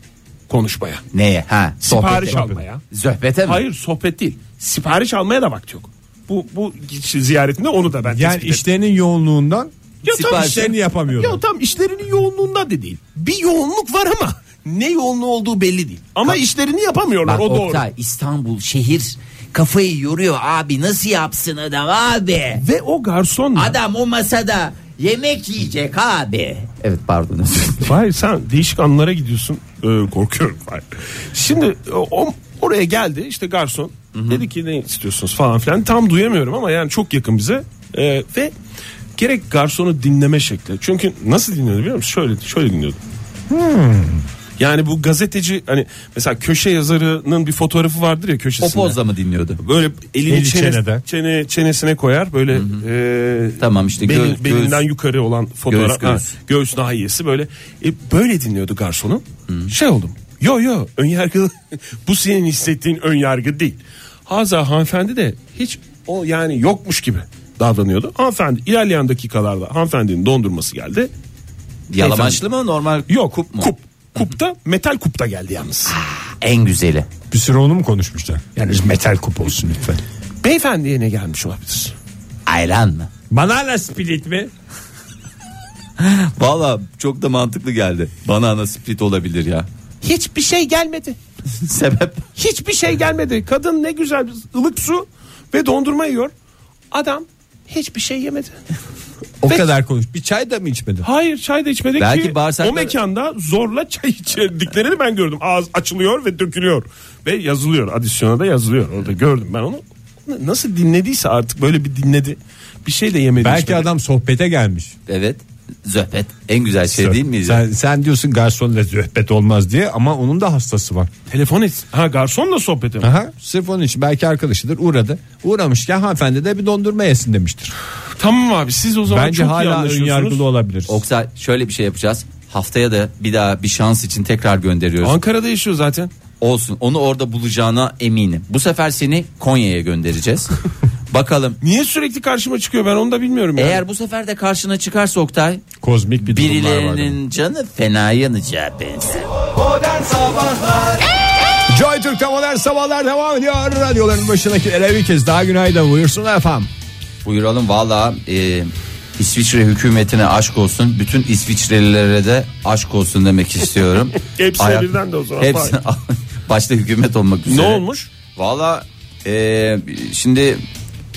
S5: konuşmaya.
S4: Neye? Ha,
S5: Sipariş
S4: sohbete.
S5: almaya.
S4: Zöhbete mi?
S5: Hayır sohbet değil. Sipariş almaya da vakti yok. Bu bu ziyaretinde onu da ben
S3: yani
S5: tespit ettim.
S3: işlerinin yoğunluğundan
S5: Ya tam
S4: sipariş-
S3: işlerini
S5: işlerini
S3: yapamıyorlar.
S5: ya tam işlerinin yoğunluğunda da değil. Bir yoğunluk var ama ne yoğunluğu olduğu belli değil. Ama işlerini yapamıyorlar
S4: Bak
S5: o doğru.
S4: Oktay İstanbul şehir kafayı yoruyor abi nasıl yapsın adam abi.
S5: Ve o garson
S4: Adam o masada yemek yiyecek abi. Evet pardon.
S5: Hayır sen değişik anlara gidiyorsun. Ee, korkuyorum. Hayır. Şimdi o, oraya geldi işte garson. Dedi ki ne istiyorsunuz falan filan. Tam duyamıyorum ama yani çok yakın bize. Ee, ve gerek garsonu dinleme şekli. Çünkü nasıl dinliyordu biliyor musun? Şöyle şöyle dinliyordu. Yani bu gazeteci hani mesela köşe yazarının bir fotoğrafı vardır ya
S4: O
S5: köşesinde.
S4: pozla mı dinliyordu?
S5: Böyle elini
S3: Eli
S5: çene-
S3: çenede.
S5: çene, çenesine koyar böyle e,
S4: Tamam işte
S5: belin-
S4: gö-
S5: belinden
S4: göğüs.
S5: yukarı olan
S4: Göğüs,
S5: fotoğraf ha,
S4: göğüs.
S5: göğüs nahiyesi böyle E, böyle dinliyordu garsonu şey oldum yo yo ön yargı bu senin hissettiğin ön yargı değil Haza hanımefendi de hiç o yani yokmuş gibi davranıyordu hanımefendi ilerleyen dakikalarda hanımefendinin dondurması geldi
S4: Yalamaçlı mı normal?
S5: yok
S4: kup mu?
S5: kup kupta metal kupta geldi yalnız
S4: En güzeli.
S3: Bir süre onu mu konuşmuşlar? Yani metal kup olsun lütfen.
S5: beyefendiye ne gelmiş olabilir
S4: Ayran mı?
S3: Banana split mi?
S4: Valla çok da mantıklı geldi. Bana ana split olabilir ya.
S5: hiçbir şey gelmedi
S4: Sebep?
S5: Hiçbir şey gelmedi. Kadın ne güzel ılık su ve dondurma yiyor. Adam hiçbir şey yemedi.
S3: O kadar konuş. Bir çay da mı içmedin?
S5: Hayır çay da içmedi
S4: Belki
S5: ki
S4: bağırsakları-
S5: o mekanda zorla çay içirdiklerini ben gördüm. Ağız açılıyor ve dökülüyor. Ve yazılıyor. Adisyona da yazılıyor. Orada gördüm ben onu. Nasıl dinlediyse artık böyle bir dinledi. Bir şey de yemedi.
S3: Belki
S5: içmedi.
S3: adam sohbete gelmiş.
S4: Evet. Zöhbet. En güzel şey değil mi?
S3: Sen, sen diyorsun garsonla sohbet olmaz diye ama onun da hastası var.
S5: telefon et. Ha garsonla sohbet ediyor.
S3: Aha, sırf onun için belki arkadaşıdır uğradı. Uğramışken hanımefendi de bir dondurma yesin demiştir.
S5: Tamam abi siz o zaman
S3: Bence
S5: çok iyi
S3: hala
S5: anlaşıyorsunuz.
S3: önyargılı olabilir.
S4: Yoksa şöyle bir şey yapacağız. Haftaya da bir daha bir şans için tekrar gönderiyoruz.
S5: Ankara'da yaşıyor zaten.
S4: Olsun onu orada bulacağına eminim. Bu sefer seni Konya'ya göndereceğiz. Bakalım.
S5: Niye sürekli karşıma çıkıyor ben onu da bilmiyorum. yani.
S4: Eğer bu sefer de karşına çıkarsa Oktay
S3: Kozmik bir durumlar var.
S4: birilerinin canı fena yanacağı benzer.
S3: Joy Türk'te modern sabahlar devam ediyor. Radyoların başındakilere bir kez daha günaydın buyursunlar efendim.
S4: Buyuralım valla e, İsviçre hükümetine aşk olsun. Bütün İsviçrelilere de aşk olsun demek istiyorum.
S5: Hepsine birden de o zaman.
S4: Hepsine, başta hükümet olmak üzere.
S5: Ne olmuş?
S4: Valla e, şimdi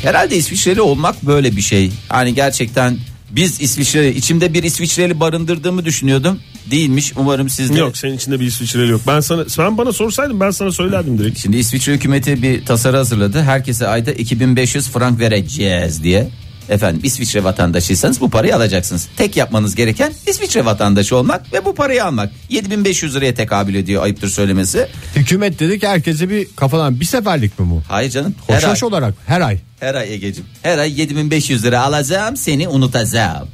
S4: herhalde İsviçreli olmak böyle bir şey. Hani gerçekten biz İsviçreli içimde bir İsviçreli barındırdığımı düşünüyordum. Değilmiş umarım siz de.
S5: Yok senin içinde bir İsviçreli yok. Ben sana sen bana sorsaydın ben sana söylerdim direkt.
S4: Şimdi İsviçre hükümeti bir tasarı hazırladı. Herkese ayda 2500 frank vereceğiz diye. Efendim İsviçre vatandaşıysanız bu parayı alacaksınız. Tek yapmanız gereken İsviçre vatandaşı olmak ve bu parayı almak. 7500 liraya tekabül ediyor ayıptır söylemesi.
S3: Hükümet dedi ki herkese bir kafadan bir seferlik mi bu?
S4: Hayır canım her
S3: Hoş
S4: ay,
S3: hoş olarak her ay.
S4: her ay Egeciğim. Her ay 7500 lira alacağım seni unutacağım.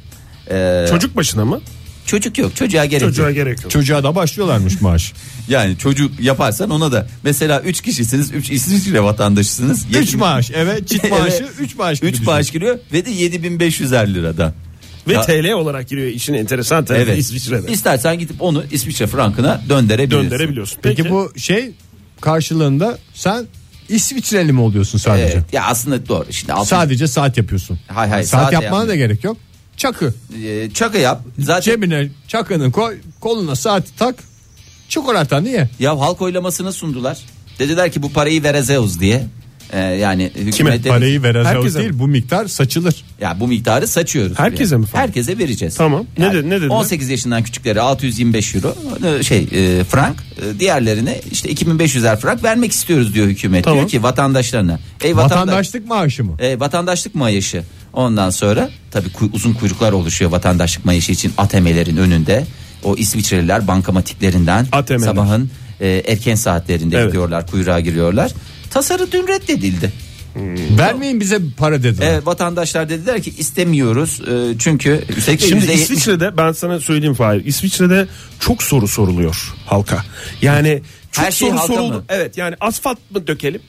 S4: Ee,
S5: Çocuk başına mı?
S4: çocuk yok çocuğa gerek yok.
S5: Çocuğa gerek yok.
S3: Çocuğa da başlıyorlarmış maaş.
S4: Yani çocuk yaparsan ona da. Mesela 3 kişisiniz 3 İsviçre vatandaşısınız.
S3: 3 maaş evet çift maaşı
S4: Evet.
S3: 3 maaş.
S4: 3 maaş giriyor ve de 7500'er liradan.
S5: Ve
S4: Ya-
S5: TL olarak giriyor işin enteresan tarafı
S4: Evet.
S5: İsviçre'de.
S4: İstersen gidip onu İsviçre frankına döndürebilirsin.
S5: Döndürebiliyorsun.
S3: Peki, bu şey karşılığında sen İsviçreli mi oluyorsun sadece?
S4: Evet. Ya aslında doğru. Şimdi altı-
S3: Sadece saat yapıyorsun.
S4: Hayır, hayır,
S3: saat,
S4: saat
S3: yapmana
S4: yapmıyorum.
S3: da gerek yok. Çakı.
S4: e, çaka yap. Zaten
S3: Cebine çakını koy, koluna saati tak. Çikolatanı ye.
S4: ya halk oylamasını sundular. Dediler ki bu parayı vereceğiz diye. E, yani hükümete
S3: vereceğiz
S5: Herkese mi?
S3: bu miktar saçılır.
S4: ya bu miktarı saçıyoruz.
S5: Herkese
S4: Yani.
S5: mi falan?
S4: Herkese vereceğiz.
S5: Tamam. Ne dedi- ne dediler?
S4: 18 yaşından küçüklere 625 euro e, şey e, frank, e, diğerlerine işte 2500'er frank vermek istiyoruz diyor hükümet.
S5: Tamam.
S4: Diyor ki vatandaşlarına. Ey vatandaş
S3: Vatandaşlık maaşı mı?
S4: E, vatandaşlık mayışı. Ondan sonra tabii kuy- uzun kuyruklar oluşuyor vatandaşlık mayışı için ATM'lerin önünde. O İsviçreliler bankamatiklerinden
S5: ATM'ler.
S4: sabahın e, erken saatlerinde
S5: Evet.
S4: gidiyorlar kuyruğa giriyorlar. Tasarı dün reddedildi.
S3: Vermeyin bize para dediler.
S4: E, vatandaşlar dediler ki istemiyoruz e, çünkü üstelik de
S5: Şimdi
S4: yüzde yetmiş-
S5: İsviçre'de ben sana söyleyeyim Fahir. İsviçre'de çok soru soruluyor halka. Yani çok
S4: Her şey
S5: soru
S4: halka
S5: soruldu.
S4: mı?
S5: Evet yani asfalt mı dökelim?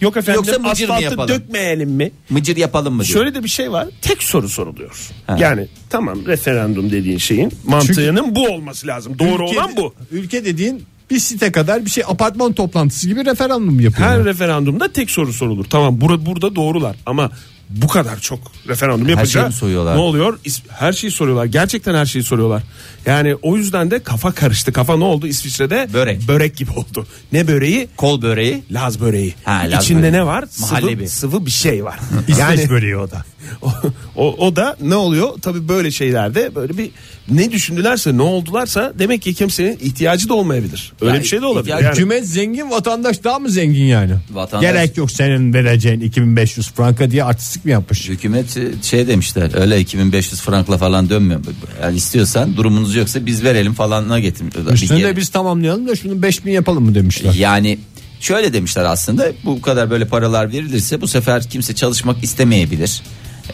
S5: Yok efendim
S4: Yoksa mıcır mı
S5: asfaltı
S4: yapalım?
S5: dökmeyelim mi?
S4: mıcır yapalım mı diyor.
S5: Şöyle de bir şey var. Tek soru soruluyor. Yani tamam referandum dediğin şeyin mantığının bu olması lazım. Doğru
S3: Ülke-
S5: olan bu.
S3: Ülke dediğin bir site kadar bir şey apartman toplantısı gibi referandum yapıyor.
S5: Her referandumda tek soru sorulur. Tamam burada, burada doğrular ama bu kadar çok referandum
S4: şeyi
S5: yapınca
S4: mi soruyorlar?
S5: ne oluyor? İs- Her şeyi soruyorlar. Gerçekten her şeyi soruyorlar. Yani o yüzden de kafa karıştı. Kafa ne oldu İsviçre'de?
S4: Börek.
S5: Börek gibi oldu. Ne böreği?
S4: Kol böreği.
S5: Laz böreği.
S4: Ha, Laz
S5: İçinde
S4: böreği.
S5: ne var? Sıvı,
S4: Mahallebi.
S5: sıvı bir şey var.
S3: İsveç böreği o da.
S5: o, o, o da ne oluyor? Tabii böyle şeylerde böyle bir ne düşündülerse ne oldularsa demek ki kimsenin ihtiyacı da olmayabilir. Öyle
S4: Ya,
S5: bir şey de olabilir.
S4: ihtiyacı-
S5: Yani-
S3: Hükümet zengin vatandaş daha mı zengin yani?
S4: Vatandaş-
S3: Gerek yok senin vereceğin 2500 franka diye artistik
S7: Haksızlık mı yapmış?
S4: Hükümet şey demişler öyle 2500 frankla falan dönmüyor. Yani istiyorsan durumunuz yoksa biz verelim falanına getirmişler.
S7: Üstünü
S4: Bir
S7: de
S4: kere-
S7: biz tamamlayalım da şunu 5000 yapalım mı demişler.
S4: Yani şöyle demişler aslında bu kadar böyle paralar verilirse bu sefer kimse çalışmak istemeyebilir.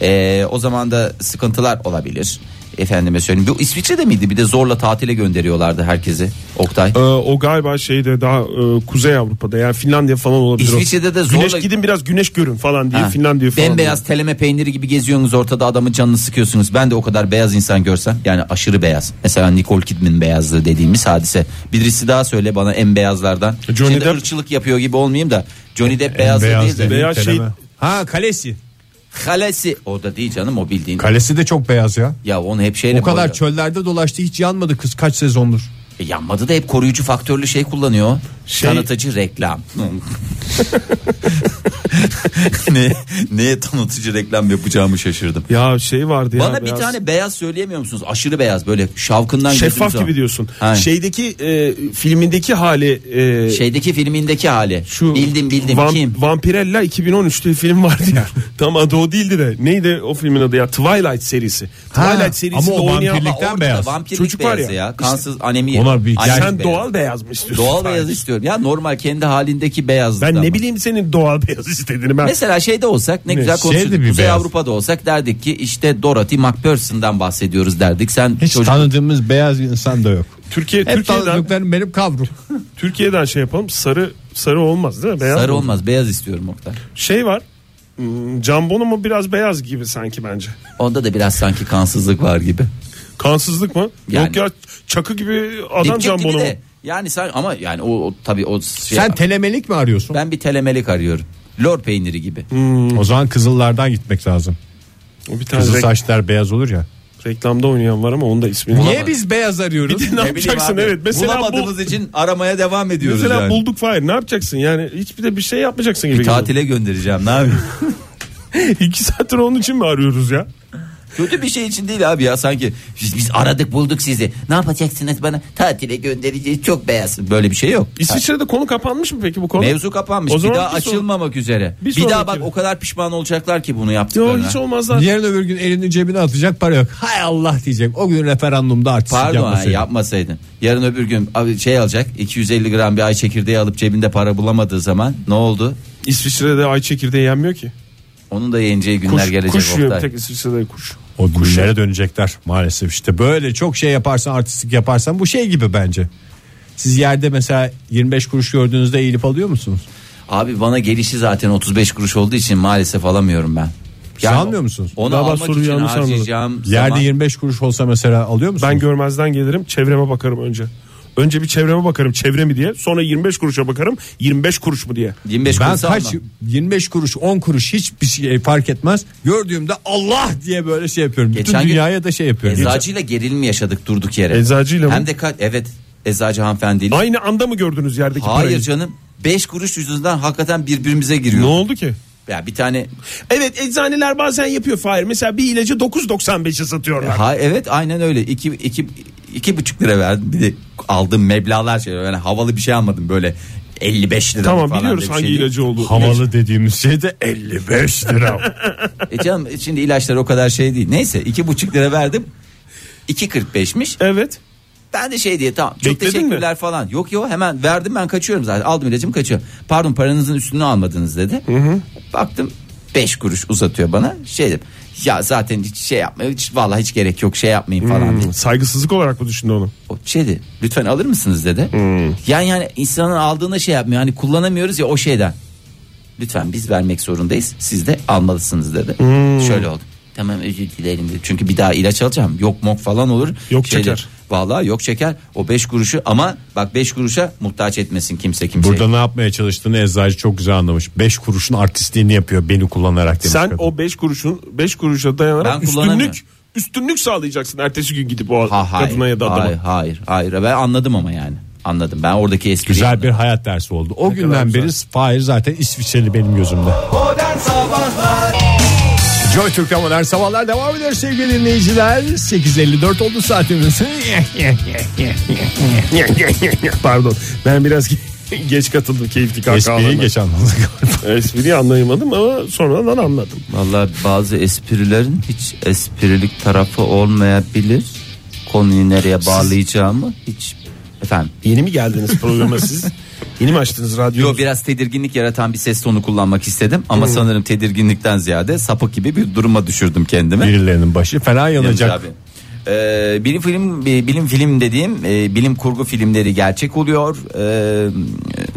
S4: Ee, o zaman da sıkıntılar olabilir. Efendime söyleyeyim. Bu İsviçre'de miydi? Bir de zorla tatile gönderiyorlardı herkesi. Oktay.
S5: Ee, o galiba şeyde daha e, Kuzey Avrupa'da yani Finlandiya falan olabilir. o.
S4: İsviçre'de de zorla-
S5: Güneş gidin biraz güneş görün falan diye
S4: Ha,
S5: Finlandiya falan.
S4: Bembeyaz teleme peyniri gibi geziyorsunuz ortada adamın canını sıkıyorsunuz. Ben de o kadar beyaz insan görsem yani aşırı beyaz. Mesela Nicole Kidman beyazlığı dediğimiz hadise. Birisi daha söyle bana en beyazlardan.
S5: E, Johnny
S4: Şimdi
S5: Depp-
S4: ırkçılık yapıyor gibi olmayayım da Johnny Depp beyazlığı değil de.
S5: dedi. Beyaz şey-
S7: Ha kalesi.
S4: Kalesi o da değil canım o bildiğin.
S7: Kalesi de çok beyaz ya.
S4: Ya onu hep şeyle
S7: O kadar
S4: boyuyor.
S7: çöllerde dolaştı hiç yanmadı kız kaç sezondur.
S4: E, yanmadı da hep koruyucu faktörlü şey kullanıyor.
S5: Şey-
S4: Tanıtıcı reklam. ne neye tanıtıcı reklam yapacağımı şaşırdım.
S5: Ya şey vardı ya.
S4: Bana bir
S5: beyaz-
S4: tane beyaz söyleyemiyor musunuz? Aşırı beyaz böyle şavkından gözümüz
S5: şeffaf
S4: var.
S5: gibi diyorsun.
S4: Aynen.
S5: Şeydeki e, filmindeki hali e,
S4: Şeydeki filmindeki hali.
S5: şu
S4: bildim bildim
S5: Vam-
S4: kim?
S5: Vampirella 2013'te bir film vardı ya. Tam adı o değildi de. Neydi o filmin adı ya? Twilight serisi.
S7: Ha,
S5: Twilight serisi
S7: ama o
S5: oynayan Ama
S7: vampirlik- Vampirlikten
S4: Orada
S7: beyaz.
S4: Vampirlik
S5: Çocuk var
S4: beyazı
S5: ya.
S4: ya. Kansız anemi.
S7: Onlar bir-
S4: Aşırı
S5: sen
S4: beyaz.
S5: doğal beyaz mı istiyorsun?
S4: Doğal beyaz istiyorum. Ya normal kendi halindeki beyaz.
S5: Ben ne bileyim senin doğal beyaz istediğini ben.
S4: Mesela şeyde olsak ne, güzel
S7: şeyde
S5: Şey
S4: konuşurduk.
S7: bir
S4: Kuzey
S7: beyaz.
S4: Avrupa'da olsak derdik ki işte Dorothy McPherson'dan bahsediyoruz derdik. Sen
S7: Hiç
S4: çocuk
S7: tanıdığımız beyaz insan da yok.
S5: Türkiye
S7: Hep
S5: Türkiye'den
S7: tanıdıklarım benim kavruk.
S5: Türkiye'den şey yapalım. Sarı sarı olmaz değil mi? Beyaz.
S4: sarı
S5: mı?
S4: olmaz beyaz istiyorum Oktay.
S5: Şey var. hmm, Jambon'u mu biraz beyaz gibi sanki bence.
S4: Onda da biraz sanki kansızlık var gibi.
S5: Kansızlık mı?
S4: Yani.
S5: Yok ya çakı gibi adam
S4: Dipçik gibi
S5: Jambon'u mu?
S4: de. Yani sen ama yani o, o tabii o şey.
S7: Sen telemelik mi arıyorsun?
S4: ben bir telemelik arıyorum. Lor peyniri gibi.
S7: O zaman kızıllardan gitmek lazım.
S5: O bir tane
S7: Kızıl
S5: rek-
S7: saçlar beyaz olur ya.
S5: reklamda oynayan var ama onun da ismini.
S7: Niye biz beyaz arıyoruz?
S5: Bir de ne yapacaksın
S4: bileyim abi,
S5: evet. Mesela, bu,
S4: Bulamadığımız için aramaya devam ediyoruz
S5: mesela
S4: yani.
S5: bulduk Fahir ne yapacaksın yani hiçbir de bir şey yapmayacaksın gibi.
S4: Tatile göndereceğim ne yapayım?
S5: geliyor. İki saattir onun için mi arıyoruz ya?
S4: Kötü bir şey için değil abi ya sanki biz, biz aradık bulduk sizi. Ne yapacaksınız bana? Tatile göndereceğiz çok beyaz. Böyle bir şey yok.
S5: İsviçre'de konu kapanmış mı peki bu konu?
S4: Mevzu kapanmış.
S5: O
S4: bir
S5: zaman
S4: daha
S5: bir son-
S4: açılmamak üzere.
S5: bir
S4: Bir, daha
S5: sonraki
S4: bak
S5: mi?
S4: o kadar pişman olacaklar ki bunu
S5: Yok
S4: yaptıklarına.
S5: hiç olmazlar.
S7: Yarın öbür gün elini cebine atacak para yok. Hay Allah diyecek. O gün referandumda açsın
S4: Pardon ha,
S7: yapmasaydı.
S4: yapmasaydın. Yarın öbür gün abi şey alacak 250 gram bir ay çekirdeği alıp cebinde para bulamadığı zaman ne oldu?
S5: İsviçre'de ay çekirdeği yenmiyor ki.
S4: Onun da yeneceği günler
S5: Kuş,
S4: gelecek
S5: kuş yiyor bir
S4: Oktay.
S5: tek İsviçre'de kuş.
S7: O günlere dönecekler maalesef işte böyle çok şey yaparsan artistik yaparsan bu şey gibi bence. Siz yerde mesela 25 kuruş gördüğünüzde eğilip alıyor musunuz?
S4: Abi bana gelişi zaten 35 kuruş olduğu için maalesef alamıyorum ben. Yani
S7: almıyor musunuz?
S4: Onu
S5: Galiba
S4: almak
S5: soruyu
S4: için
S5: yanlış anladım.
S4: harcayacağım
S7: Yerde
S4: zaman-
S7: 25 kuruş olsa mesela alıyor musunuz?
S5: Ben görmezden gelirim çevreme bakarım önce. Önce bir çevreme bakarım çevre mi diye. Sonra 25 kuruşa bakarım 25 kuruş mu diye.
S4: 25
S7: ben
S4: kuruş
S7: kaç
S4: almam.
S7: 25 kuruş 10 kuruş hiçbir şey fark etmez. Gördüğümde Allah diye böyle şey yapıyorum.
S4: Geçen
S7: Bütün
S4: gün-
S7: dünyaya da şey yapıyorum.
S4: Eczacıyla gerilim yaşadık durduk yere.
S5: Eczacıyla mı?
S4: Hem de kaç evet eczacı hanımefendiyle.
S5: Aynı anda mı gördünüz yerdeki
S4: Hayır
S5: parayı?
S4: canım 5 kuruş yüzünden hakikaten birbirimize
S5: Ne
S4: giriyor.
S5: oldu ki?
S4: Ya bir tane
S5: Evet eczaneler bazen yapıyor Fahir. Mesela bir ilacı 9.95'e satıyorlar.
S4: ha evet aynen öyle 2 2 iki buçuk lira verdim bir de aldığım meblağlar şey yani havalı bir şey almadım böyle 55 lira
S5: Tamam
S4: falan
S5: biliyoruz
S4: diye bir
S5: hangi
S4: şey değil.
S5: ilacı oldu.
S7: Havalı dediğimiz şey de 55 lira.
S4: E canım şimdi ilaçlar o kadar şey değil. Neyse iki buçuk lira verdim. 2.45'miş.
S5: Evet.
S4: Ben de şey diye tamam çok
S5: Bekledin
S4: teşekkürler falan. Yok yok hemen verdim ben kaçıyorum zaten. Aldım ilacımı kaçıyorum. Pardon paranızın üstünü almadınız dedi. Baktım 5 kuruş uzatıyor bana. Şey dedim. Ya zaten hiç şey yapmaya hiç vallahi hiç gerek yok şey yapmayayım falan diye.
S5: Saygısızlık olarak mı düşündü onu?
S4: O şey dedi. Lütfen alır mısınız dedi.
S7: Hmm.
S4: Yani yani insanın aldığında şey yapmıyor. Hani kullanamıyoruz ya o şeyden. Lütfen biz vermek zorundayız. Siz de almalısınız dedi.
S7: Hmm.
S4: Şöyle oldu. Tamam özür dilerim dedi. Çünkü bir daha ilaç alacağım. Yok mok falan olur.
S5: Yok
S4: Şeyde-
S5: çeker.
S4: Vallahi yok çeker. O 5 kuruşu ama bak 5 kuruşa muhtaç etmesin kimse kimseye.
S7: Burada ne yapmaya çalıştığını eczacı çok güzel anlamış. 5 kuruşun artistliğini yapıyor beni kullanarak demiş.
S5: Sen
S7: kadın.
S5: o 5 kuruşun 5 kuruşa
S4: Ben
S5: dayanarak
S4: kullanamıyorum.
S5: üstünlük üstünlük sağlayacaksın ertesi gün gidip o
S4: ha, hayır,
S5: kadına ya da adama.
S4: hayır, hayır, hayır. Ben anladım ama yani. Anladım. Ben oradaki espriyi
S7: Güzel bir hayat dersi oldu. O günden beri Fahir zaten İsviçreli benim gözümde. Joy Türk'te modern sabahlar devam ediyor sevgili dinleyiciler. 8.54 oldu saatimiz.
S5: Pardon ben biraz Geç katıldım keyifli kahkahalarına.
S7: Espriyi geç anladık.
S5: Espriyi anlayamadım ama sonradan anladım.
S4: Vallahi bazı esprilerin hiç esprilik tarafı olmayabilir. Konuyu nereye bağlayacağımı hiç efendim.
S5: Yeni mi geldiniz programa siz? Yeni mi açtınız radyoyu?
S4: Yo biraz tedirginlik yaratan bir ses tonu kullanmak istedim ama sanırım tedirginlikten ziyade sapık gibi bir duruma düşürdüm kendimi.
S7: Birilerinin başı fena yanacak.
S4: Yalnız abi. Ee, bilim film e, bilim film dediğim e, bilim kurgu filmleri gerçek oluyor. Ee,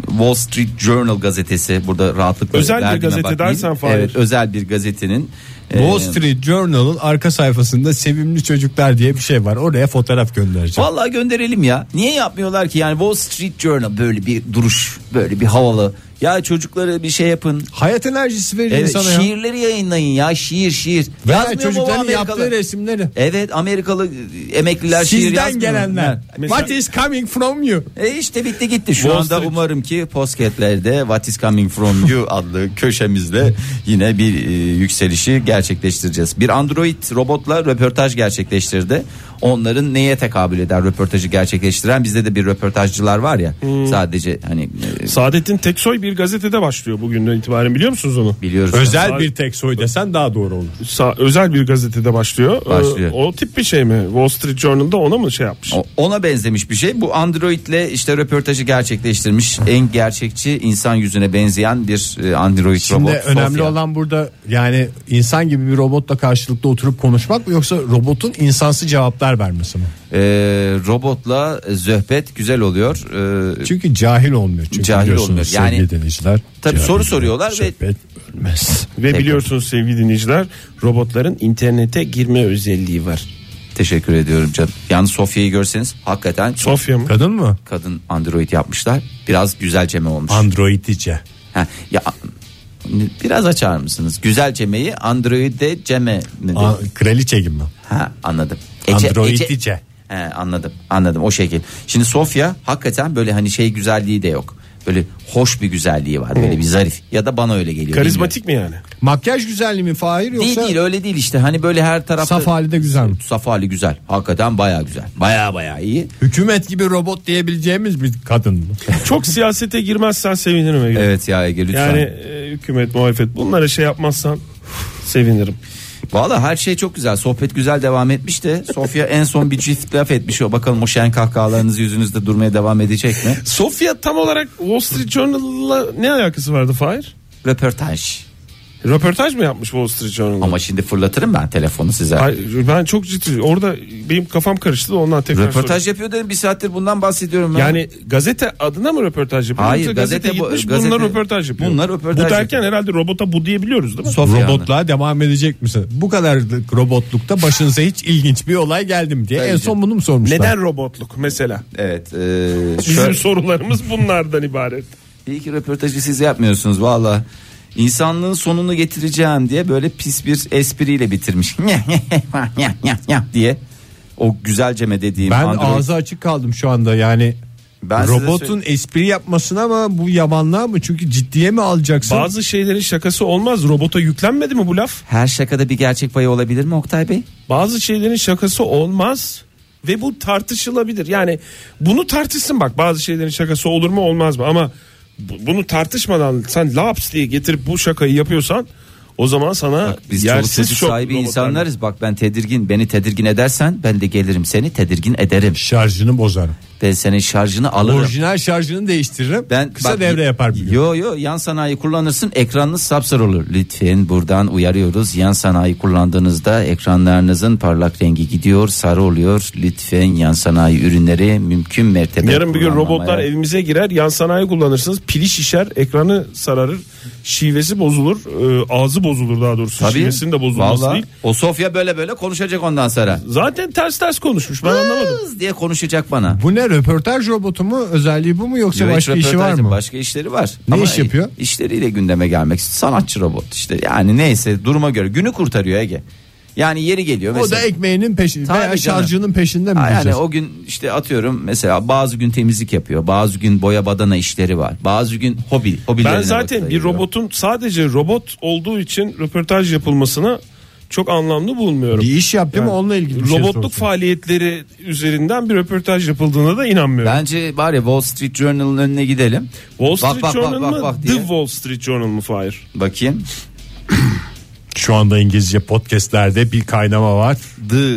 S4: Wall Street Journal gazetesi burada rahatlıkla
S5: Özel bir
S4: verdiğime
S5: gazete
S4: bakmayın.
S5: dersen Fahir.
S4: Evet, özel bir gazetenin e,
S7: Wall Street Journal'ın arka sayfasında sevimli çocuklar diye bir şey var. Oraya fotoğraf göndereceğim.
S4: Vallahi gönderelim ya. Niye yapmıyorlar ki yani Wall Street Journal böyle bir duruş, böyle bir havalı. Ya çocukları bir şey yapın.
S7: Hayat enerjisi verir
S4: Evet,
S7: insana ya.
S4: şiirleri yayınlayın ya şiir şiir.
S7: Veya
S4: Yazmıyor mu bu
S7: çocukların
S4: Amerikalı?
S7: yaptığı resimleri.
S4: Evet Amerikalı e, emekliler şiir
S7: Sizden
S4: yazmıyor.
S7: gelenler.
S4: Ha.
S7: What is coming from you?
S4: E işte bitti gitti. Şu
S5: Wall
S4: anda
S5: Street.
S4: umarım ki posketlerde What is coming from you adlı köşemizde yine bir e, yükselişi gerçekleştireceğiz. Bir android robotla röportaj gerçekleştirdi. Onların neye tekabül eder röportajı gerçekleştiren bizde de bir röportajcılar var ya.
S7: Hmm.
S4: Sadece hani e,
S5: Saadettin Teksoy bir gazetede başlıyor bugünden itibaren biliyor musunuz onu?
S4: biliyoruz.
S7: Özel bir tek soy desen daha doğru olur.
S5: Sa- özel bir gazetede başlıyor. Ee,
S4: Başlıyor.
S5: o tip bir şey mi? Wall Street Journal'da ona mı şey yapmış?
S4: O- Ona benzemiş bir şey. Bu Android'le işte röportajı gerçekleştirmiş. En gerçekçi insan yüzüne benzeyen bir e, Android
S7: Şimdi
S4: robot.
S7: önemli
S4: Sofya.
S7: olan burada yani insan gibi bir robotla karşılıklı oturup konuşmak mı yoksa robotun insansı cevaplar vermesi mi?
S4: E, robotla zöhbet güzel oluyor. E,
S7: Çünkü cahil olmuyor. Çünkü
S4: Cahil
S7: biliyorsunuz
S4: olmuyor.
S7: sevgili
S4: Yani-
S7: dinleyiciler.
S4: Tabii
S7: cahil
S4: soru
S7: olan
S4: soruyorlar ve-
S7: sohbet ölmez.
S5: Ve
S4: Peki.
S5: biliyorsunuz sevgili dinleyiciler robotların internete girme özelliği var.
S4: Teşekkür ediyorum canım. Yalnız Sofya'yı görseniz hakikaten çok
S5: Sofya mı?
S7: Kadın mı?
S4: kadın android yapmışlar. Biraz güzelceme olmuş.
S7: Androidice.
S4: ha, ya biraz açar mısınız? Güzelcemeyi android'e ceme mi?
S7: A- Kraliçe gibi mi?
S4: Ha anladım.
S7: Androidice.
S4: He, anladım. Anladım o şekil. Şimdi Sofya hakikaten böyle hani şey güzelliği de yok. Böyle hoş bir güzelliği var.
S7: Hmm.
S4: Böyle bir zarif. Ya da bana öyle geliyor.
S5: Karizmatik mi yani?
S7: Makyaj güzelliği mi Fahir
S4: bilmiyorum.
S7: yoksa
S4: Değil değil öyle değil işte. Hani böyle her tarafta
S7: saf hali de güzel mi?
S4: Saf hali güzel. Hakikaten baya güzel. Baya baya iyi.
S7: Hükümet gibi robot diyebileceğimiz bir kadın mı?
S5: Çok siyasete girmezsen sevinirim Ege.
S4: Evet ya Ege lütfen.
S5: Yani e, hükümet muhalefet bunlara şey yapmazsan sevinirim.
S4: Valla her şey çok güzel. Sohbet güzel devam etmiş de Sofya en son bir çift laf etmiş. O bakalım o şen kahkahalarınız yüzünüzde durmaya devam edecek mi?
S5: Sofya tam olarak Wall Street Journal'la ne alakası vardı Fahir?
S4: Röportaj.
S5: Röportaj mı yapmış Wall Street Journal'la?
S4: Ama şimdi fırlatırım ben telefonu size.
S5: Hayır, ben çok ciddi orada benim kafam karıştı da ondan tekrar soruyorum.
S4: Röportaj yapıyor dedim bir saattir bundan bahsediyorum. ben.
S5: Yani gazete adına mı röportaj yapıyor?
S4: Hayır,
S5: Yoksa
S4: gazete bu-
S5: gitmiş
S4: gazete-
S5: bunlar röportaj yapıyor.
S4: Bunlar röportaj
S5: Bu derken
S4: yapıyor.
S5: herhalde robota bu diyebiliyoruz değil mi?
S4: Sofya Hanım.
S7: Robotluğa devam edecek misin? Bu kadar robotlukta başınıza hiç ilginç bir olay geldi mi diye en son bunu mu sormuşlar?
S5: Neden robotluk mesela?
S4: Evet. E,
S5: Bizim
S4: şöyle-
S5: sorularımız bunlardan ibaret.
S4: İyi ki röportajı siz yapmıyorsunuz valla. İnsanlığın sonunu getireceğim diye böyle pis bir espriyle bitirmiş. diye. O güzelceme dediğim.
S7: Ben
S4: Android-
S7: ağzı açık kaldım şu anda yani.
S4: Ben size
S7: robotun espri yapmasına ama bu yabanlığa mı? Çünkü ciddiye mi alacaksın?
S5: Bazı şeylerin şakası olmaz. Robota yüklenmedi mi bu laf?
S4: Her şakada bir gerçek payı olabilir mi Oktay Bey?
S5: Bazı şeylerin şakası olmaz ve bu tartışılabilir. Yani bunu tartışsın bak bazı şeylerin şakası olur mu olmaz mı ama bu- bunu tartışmadan sen laps diye getirip bu şakayı yapıyorsan o zaman sana
S4: Biz çoluk
S5: yersiz
S4: çocuk
S5: şok
S4: sahibi
S5: robotlar-
S4: insanlarız. Bak ben tedirgin, beni tedirgin edersen ben de gelirim seni tedirgin ederim.
S7: Şarjını bozarım.
S4: Ben senin şarjını alırım.
S7: Orijinal şarjını değiştiririm.
S4: Ben
S7: Kısa
S4: bak,
S7: devre yapar biliyorum.
S4: Yo yo yan sanayi kullanırsın ekranınız sapsarı olur. Lütfen buradan uyarıyoruz. Yan sanayi kullandığınızda ekranlarınızın parlak rengi gidiyor, sarı oluyor. Lütfen yan sanayi ürünleri mümkün mertebe
S5: Yarın bir gün
S4: kullanmamaya-
S5: robotlar evimize girer yan sanayi kullanırsınız pili şişer ekranı sararır şivesi bozulur e, ağzı bozulur daha doğrusu
S4: Tabii.
S5: şivesinin de bozulması
S4: Vallahi.
S5: değil.
S4: O Sofya böyle böyle konuşacak ondan sonra.
S5: Zaten ters ters konuşmuş ben anlamadım.
S4: Kız diye konuşacak bana.
S7: Bu ne röportaj robotu mu? Özelliği bu mu yoksa
S4: Yo, hiç
S7: başka işi var
S4: röportajın
S7: mı?
S4: Başka işleri var.
S7: Ne iş yapıyor?
S4: İşleriyle gündeme gelmek. Sanatçı robot işte. Yani neyse duruma göre günü kurtarıyor Ege. Yani yeri geliyor
S7: O da
S4: mesela.
S7: ekmeğinin peşinde
S4: Tabii
S7: veya
S4: canım.
S7: şarjının peşinde mi
S4: Ha,
S7: diyeceğiz?
S4: yani o gün işte atıyorum mesela bazı gün temizlik yapıyor. Bazı gün boya badana işleri var. Bazı gün hobi.
S5: Ben
S4: hobilerine vakit
S5: zaten bir
S4: ayırıyor.
S5: robotun sadece robot olduğu için röportaj yapılmasına çok anlamlı bulmuyorum.
S7: Bir iş yap değil mi?
S5: Yani
S7: Onunla ilgili bir şey
S5: Robotluk
S7: sorsun.
S5: faaliyetleri üzerinden bir röportaj yapıldığına da inanmıyorum.
S4: Bence var ya Wall Street Journal'ın önüne gidelim.
S5: Wall Street
S4: bak, bak, bak,
S5: Journal mı?
S4: bak, bak
S5: The
S4: diye.
S5: Wall Street Journal mı Fahir?
S4: Bakayım.
S7: Şu anda İngilizce podcastlerde bir kaynama var.
S4: The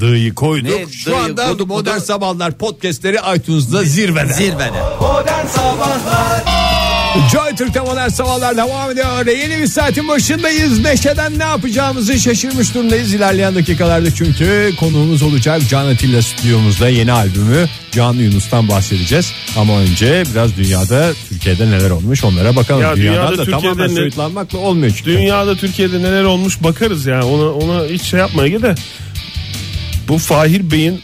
S7: D'yi koyduk.
S4: Ne?
S3: Şu anda
S4: Dayı, kodu-
S3: Modern
S4: kodu-
S3: Sabahlar podcastleri iTunes'da zirvede.
S4: zirvede.
S3: Joy Türk'te Modern Sabahlar devam ediyor. Yeni bir saatin başındayız. Neşeden ne yapacağımızı şaşırmış durumdayız ilerleyen dakikalarda. Çünkü konuğumuz olacak Can Atilla stüdyomuzda yeni albümü Can Yunus'tan bahsedeceğiz. Ama önce biraz dünyada Türkiye'de neler olmuş onlara bakalım.
S5: Ya
S3: Dünyadan
S5: dünyada,
S3: da
S5: Türkiye'de
S3: tamamen
S5: ne-
S3: soyutlanmakla olmuyor çünkü.
S5: Dünyada Türkiye'de neler olmuş bakarız yani ona, ona hiç şey yapmaya gide. Bu Fahir Bey'in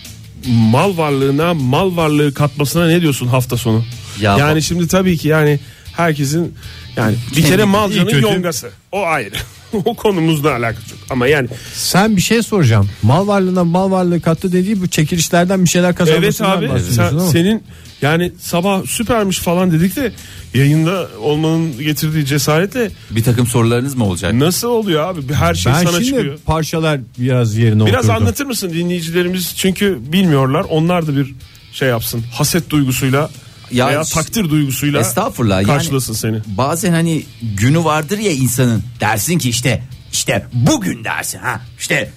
S5: mal varlığına mal varlığı katmasına ne diyorsun hafta sonu?
S4: Ya
S5: yani
S4: bak-
S5: şimdi tabii ki yani herkesin yani bir kere malcanın
S7: kötü-
S5: yongası. O ayrı. o konumuzla alakası yok. Ama yani
S7: Sen bir şey soracağım. Mal varlığına mal varlığı kattı dediği bu çekilişlerden bir şeyler
S5: Evet
S7: kazanmasından
S5: abi sen-
S7: bahsediyorsun ama.
S5: senin yani sabah süpermiş falan dedik de yayında olmanın getirdiği cesaretle
S4: Bir takım sorularınız mı olacak?
S5: nasıl oluyor abi? Bir- Her şey
S7: ben
S5: sana
S7: şimdi
S5: çıkıyor.
S7: parçalar biraz yerine
S5: Biraz
S7: oturdu.
S5: anlatır mısın dinleyicilerimiz? Çünkü bilmiyorlar. Onlar da bir şey yapsın. Haset duygusuyla
S4: Ya
S5: veya
S4: ş-
S5: takdir duygusuyla
S4: Estağfurullah. yani
S5: karşılasın seni.
S4: Bazen hani günü vardır ya insanın. Dersin ki işte işte bugün dersin ha. işte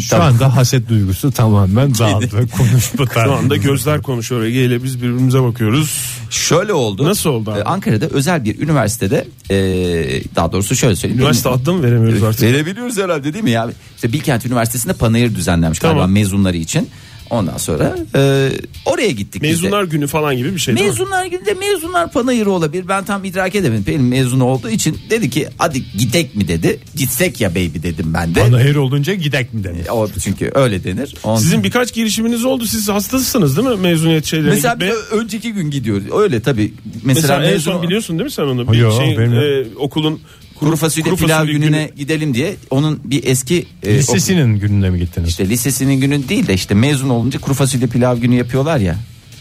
S7: Şu anda haset duygusu tamamen dağıldı. Konuşma
S5: Şu anda
S7: tarzı.
S5: gözler konuşuyor Ege ile biz birbirimize bakıyoruz.
S4: Şöyle oldu.
S5: Nasıl oldu abi?
S4: Ee, Ankara'da özel bir üniversitede ee, daha doğrusu şöyle söyleyeyim.
S5: Üniversite
S4: Benim-
S5: adını mı veremiyoruz artık?
S4: Verebiliyoruz herhalde değil mi ya? İşte Bilkent Üniversitesi'nde panayır düzenlenmiş
S5: Tamam.
S4: galiba mezunları için. Ondan sonra ee, oraya gittik biz de.
S5: Mezunlar günü falan gibi bir şey değil mi?
S4: Mezunlar günü de mezunlar panayırı olabilir. Ben tam idrak edemedim. Pelin mezun olduğu için dedi ki hadi gidek mi dedi. Gitsek ya baby dedim ben de.
S7: Panayır olunca gidek mi denir?
S4: E, O çünkü öyle denir. Ondan-
S5: Sizin birkaç girişiminiz oldu. Siz hastasısınız değil mi? Mezuniyet şeylerine
S4: Mesela
S5: gitmeye.
S4: biz önceki gün gidiyoruz. Öyle tabii. Mesela,
S5: Mesela en
S4: mezun-
S5: son biliyorsun değil mi sen onu? Bir
S7: Yo,
S5: şeyin,
S7: bilmiyorum.
S5: e, okulun
S4: kuru fasulye pilav gününe gidelim diye onun bir eski e, okul-
S7: Lisesinin gününe mi gittiniz?
S4: işte lisesinin günü değil de işte mezun olunca kuru fasulye pilav günü yapıyorlar ya.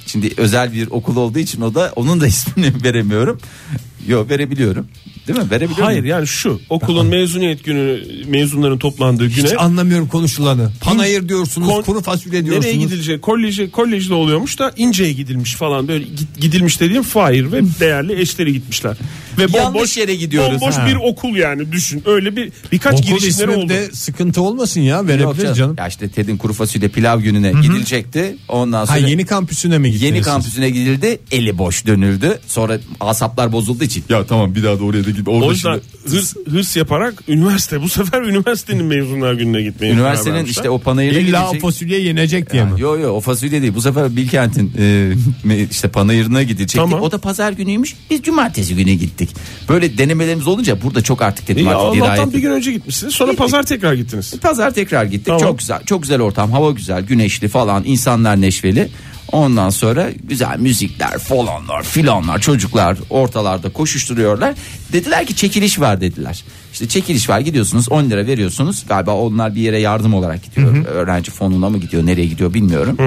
S4: Şimdi özel bir okul olduğu için o da onun da ismini veremiyorum. Yok verebiliyorum. Değil mi? Verebiliyorum.
S5: Hayır yani şu okulun mezuniyet günü mezunların toplandığı güne
S7: Hiç anlamıyorum konuşulanı. Panayır diyorsunuz,
S5: Kon-
S7: kuru fasulye
S5: nereye
S7: diyorsunuz.
S5: gidilecek? Kolejde, kolejde oluyormuş da İnce'ye gidilmiş falan böyle git- gidilmiş dediğim Fahir ve değerli eşleri gitmişler. Ve
S4: Yanlış yere gidiyoruz,
S5: Bomboş
S4: ha.
S5: bir okul yani düşün. Öyle bir birkaç
S7: Okul
S5: girişimleri oldu.
S7: isminde sıkıntı olmasın ya
S4: Yok
S7: verebiliriz
S4: canım.
S7: canım.
S4: Ya işte TED'in kuru fasulye pilav gününe gidilecekti. Ondan
S7: Ha
S4: sonra
S7: yeni kampüsüne mi gittiniz?
S4: Yeni
S7: siz?
S4: kampüsüne gidildi. Eli boş dönüldü. Sonra asaplar bozulduğu için. Ya tamam bir daha da oraya da git. Orada
S5: O yüzden hırs, hırs yaparak üniversite bu sefer üniversitenin mezunlar gününe gitmeye karar
S4: üniversitenin
S5: vermişler.
S4: işte o panayırına
S7: İlla o
S4: gidecek.
S7: fasulye yenecek diye mi?
S4: Yo yo o fasulye değil. Bu sefer Bilkent'in e, me- işte panayırına gidecektik.
S5: Tamam.
S4: O da pazar günüymüş. Biz cumartesi günü gittik. Böyle denemelerimiz olunca burada çok artık dedim
S5: İyi,
S4: artık
S5: Allah'tan
S4: dirayet-
S5: bir gün önce gitmişsiniz. Sonra pazar tekrar gittiniz.
S4: Pazar tekrar gittik.
S5: Tamam.
S4: Çok güzel. Çok güzel ortam. Hava güzel. Güneşli falan. insanlar neşveli. Ondan sonra güzel müzikler falanlar filanlar çocuklar ortalarda koşuşturuyorlar. Dediler ki çekiliş var dediler. İşte çekiliş var gidiyorsunuz 10 lira veriyorsunuz. Galiba onlar bir yere yardım olarak gidiyor. Öğrenci fonuna mı gidiyor nereye gidiyor bilmiyorum.